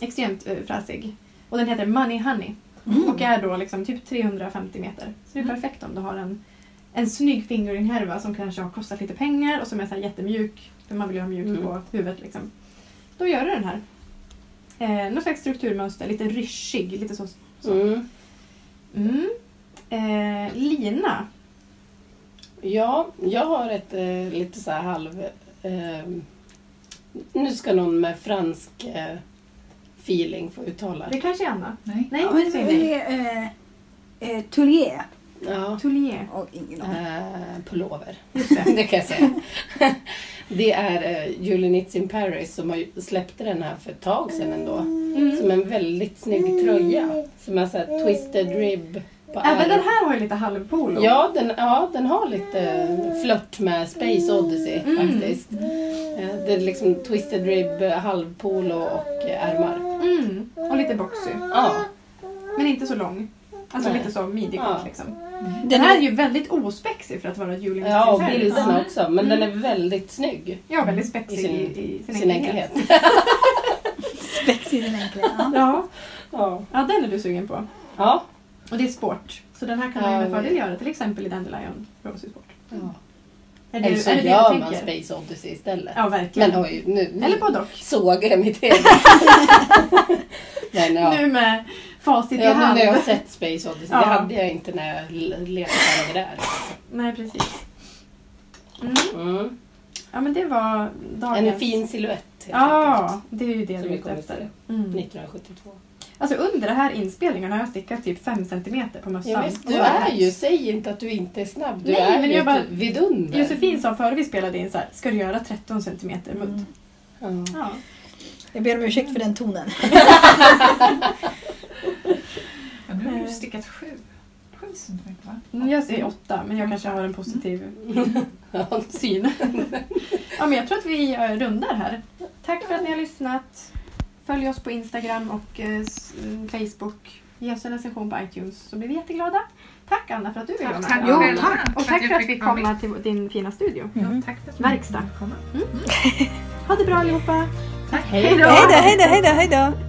[SPEAKER 3] Extremt eh, fräsig. Och den heter Money Honey
[SPEAKER 2] Mm.
[SPEAKER 3] och är då liksom typ 350 meter. Så det är
[SPEAKER 1] Mm.
[SPEAKER 3] perfekt om du har en, en snygg fingeringhärva som kanske har kostat lite pengar och som är så här jättemjuk, för man vill ju ha mjuk
[SPEAKER 2] Mm.
[SPEAKER 3] på huvudet. Liksom. Då gör du den här. Eh, någon slags strukturmönster, lite ryschig. Lite så.
[SPEAKER 2] Mm.
[SPEAKER 3] Mm. Eh, lina.
[SPEAKER 2] Ja, jag har ett eh, lite så här halv... Eh, nu ska någon med fransk eh, feeling få uttala
[SPEAKER 3] Det
[SPEAKER 2] det.
[SPEAKER 3] kanske är Anna?
[SPEAKER 1] Nej.
[SPEAKER 3] Nej,
[SPEAKER 4] Ja,
[SPEAKER 3] det
[SPEAKER 4] men
[SPEAKER 3] säger
[SPEAKER 4] det
[SPEAKER 3] nej.
[SPEAKER 4] är eh, eh, Tullier
[SPEAKER 2] Ja.
[SPEAKER 3] Toulier.
[SPEAKER 4] och ingen aning.
[SPEAKER 2] Eh, pullover.
[SPEAKER 3] Just det.
[SPEAKER 2] [laughs] det kan jag säga. det är eh, Julie Nitz in Paris som har ju- släppte den här för ett tag sedan ändå. Som
[SPEAKER 3] Mm.
[SPEAKER 2] en väldigt snygg tröja. Som är så här twisted rib på
[SPEAKER 3] Även
[SPEAKER 2] ärmen.
[SPEAKER 3] den här har ju lite halvpolo.
[SPEAKER 2] Ja den, ja, den har lite flört med Space Odyssey
[SPEAKER 3] Mm.
[SPEAKER 2] faktiskt. Eh, Det är liksom twisted rib, eh, halvpolo och eh, ärmar.
[SPEAKER 3] Mm. Och lite boxy.
[SPEAKER 2] Ja,
[SPEAKER 3] Men inte så lång. Alltså
[SPEAKER 2] Nej.
[SPEAKER 3] lite så midjekort
[SPEAKER 2] Ja.
[SPEAKER 3] liksom.
[SPEAKER 1] Mm.
[SPEAKER 3] Den här är ju väldigt ospexig för att vara Julie
[SPEAKER 2] ja och
[SPEAKER 3] Mr. Ferris.
[SPEAKER 2] bilderna
[SPEAKER 1] Ja.
[SPEAKER 2] också. Men
[SPEAKER 3] Mm.
[SPEAKER 2] den är väldigt snygg
[SPEAKER 3] Ja, väldigt spexig
[SPEAKER 2] I sin-
[SPEAKER 3] i, i
[SPEAKER 2] i
[SPEAKER 3] sin,
[SPEAKER 2] sin
[SPEAKER 3] enkelhet.
[SPEAKER 2] enkelhet.
[SPEAKER 3] [laughs]
[SPEAKER 4] Spexig den enkla. Ja.
[SPEAKER 3] Ja.
[SPEAKER 2] Ja.
[SPEAKER 3] ja, den är du sugen på.
[SPEAKER 2] Ja.
[SPEAKER 3] Och det är sport. Så den här kan
[SPEAKER 2] Ja,
[SPEAKER 3] man ju med
[SPEAKER 2] det-
[SPEAKER 3] fördel göra till exempel i Dandelion Rosy Sport. Är
[SPEAKER 2] Eller
[SPEAKER 3] det-
[SPEAKER 2] så
[SPEAKER 3] är det det
[SPEAKER 2] gör
[SPEAKER 3] du
[SPEAKER 2] man
[SPEAKER 3] tänker?
[SPEAKER 2] Space Odyssey istället.
[SPEAKER 3] Ja,
[SPEAKER 2] Men
[SPEAKER 3] verkligen.
[SPEAKER 2] oj, nu, nu
[SPEAKER 3] Eller både och.
[SPEAKER 2] såg jag mitt
[SPEAKER 3] [laughs]
[SPEAKER 2] eget. [laughs] Men ja.
[SPEAKER 3] Nu med facit i
[SPEAKER 2] Ja, nu
[SPEAKER 3] hand.
[SPEAKER 2] när jag har sett Space Odyssey,
[SPEAKER 3] Ja.
[SPEAKER 2] det hade jag inte när jag l- lekte med det där.
[SPEAKER 3] [laughs] Nej, precis. Mm.
[SPEAKER 2] Mm.
[SPEAKER 3] Ja, men det var dagens...
[SPEAKER 2] En fin silhuett helt
[SPEAKER 3] Ja, det är ju det
[SPEAKER 2] Som
[SPEAKER 3] du är
[SPEAKER 2] vi
[SPEAKER 3] ute
[SPEAKER 2] kommer
[SPEAKER 3] efter.
[SPEAKER 2] till.
[SPEAKER 3] Mm.
[SPEAKER 2] enkelt. 1972.
[SPEAKER 3] Alltså under den här inspelningen har jag stickat typ 5 cm på mössan.
[SPEAKER 2] Ja, visst,
[SPEAKER 3] Och
[SPEAKER 2] du
[SPEAKER 3] så har jag
[SPEAKER 2] är
[SPEAKER 3] vänt.
[SPEAKER 2] ju, säg inte att du inte är snabb. Du
[SPEAKER 3] Nej,
[SPEAKER 2] är
[SPEAKER 3] men
[SPEAKER 2] ju typ
[SPEAKER 3] jag
[SPEAKER 2] ett
[SPEAKER 3] bara-
[SPEAKER 2] vidunder.
[SPEAKER 3] Josefin sa före vi spelade in så här, ska du göra 13 cm mudd?
[SPEAKER 4] Mm.
[SPEAKER 2] Ja. [laughs]
[SPEAKER 3] Ja.
[SPEAKER 4] Jag ber om ursäkt för den tonen.
[SPEAKER 1] Men nu har du stickat sju. Sju centimeter va?
[SPEAKER 3] Mm, Jag Mm. säger 8 men jag kanske har en positiv
[SPEAKER 2] Ja.
[SPEAKER 3] syn. ja, men jag tror att vi eh, rundar här. Tack för att ni har lyssnat. Följ oss på Instagram och eh, s- mm, Facebook. Ge oss en recension på iTunes så blir vi jätteglada. Tack Anna för att du ville vara med.
[SPEAKER 1] Tack
[SPEAKER 4] Jo,
[SPEAKER 1] själva
[SPEAKER 4] tack.
[SPEAKER 3] Och tack
[SPEAKER 1] jag
[SPEAKER 3] för att
[SPEAKER 1] fick
[SPEAKER 3] vi
[SPEAKER 1] vara
[SPEAKER 3] kom till din fina studio.
[SPEAKER 1] med. Ja, tack för att
[SPEAKER 3] Verkstad.
[SPEAKER 1] fick komma.
[SPEAKER 3] Ha det bra allihopa!
[SPEAKER 1] Tack.
[SPEAKER 3] Hej då!
[SPEAKER 4] Hej då, hej då, hej då, hej då!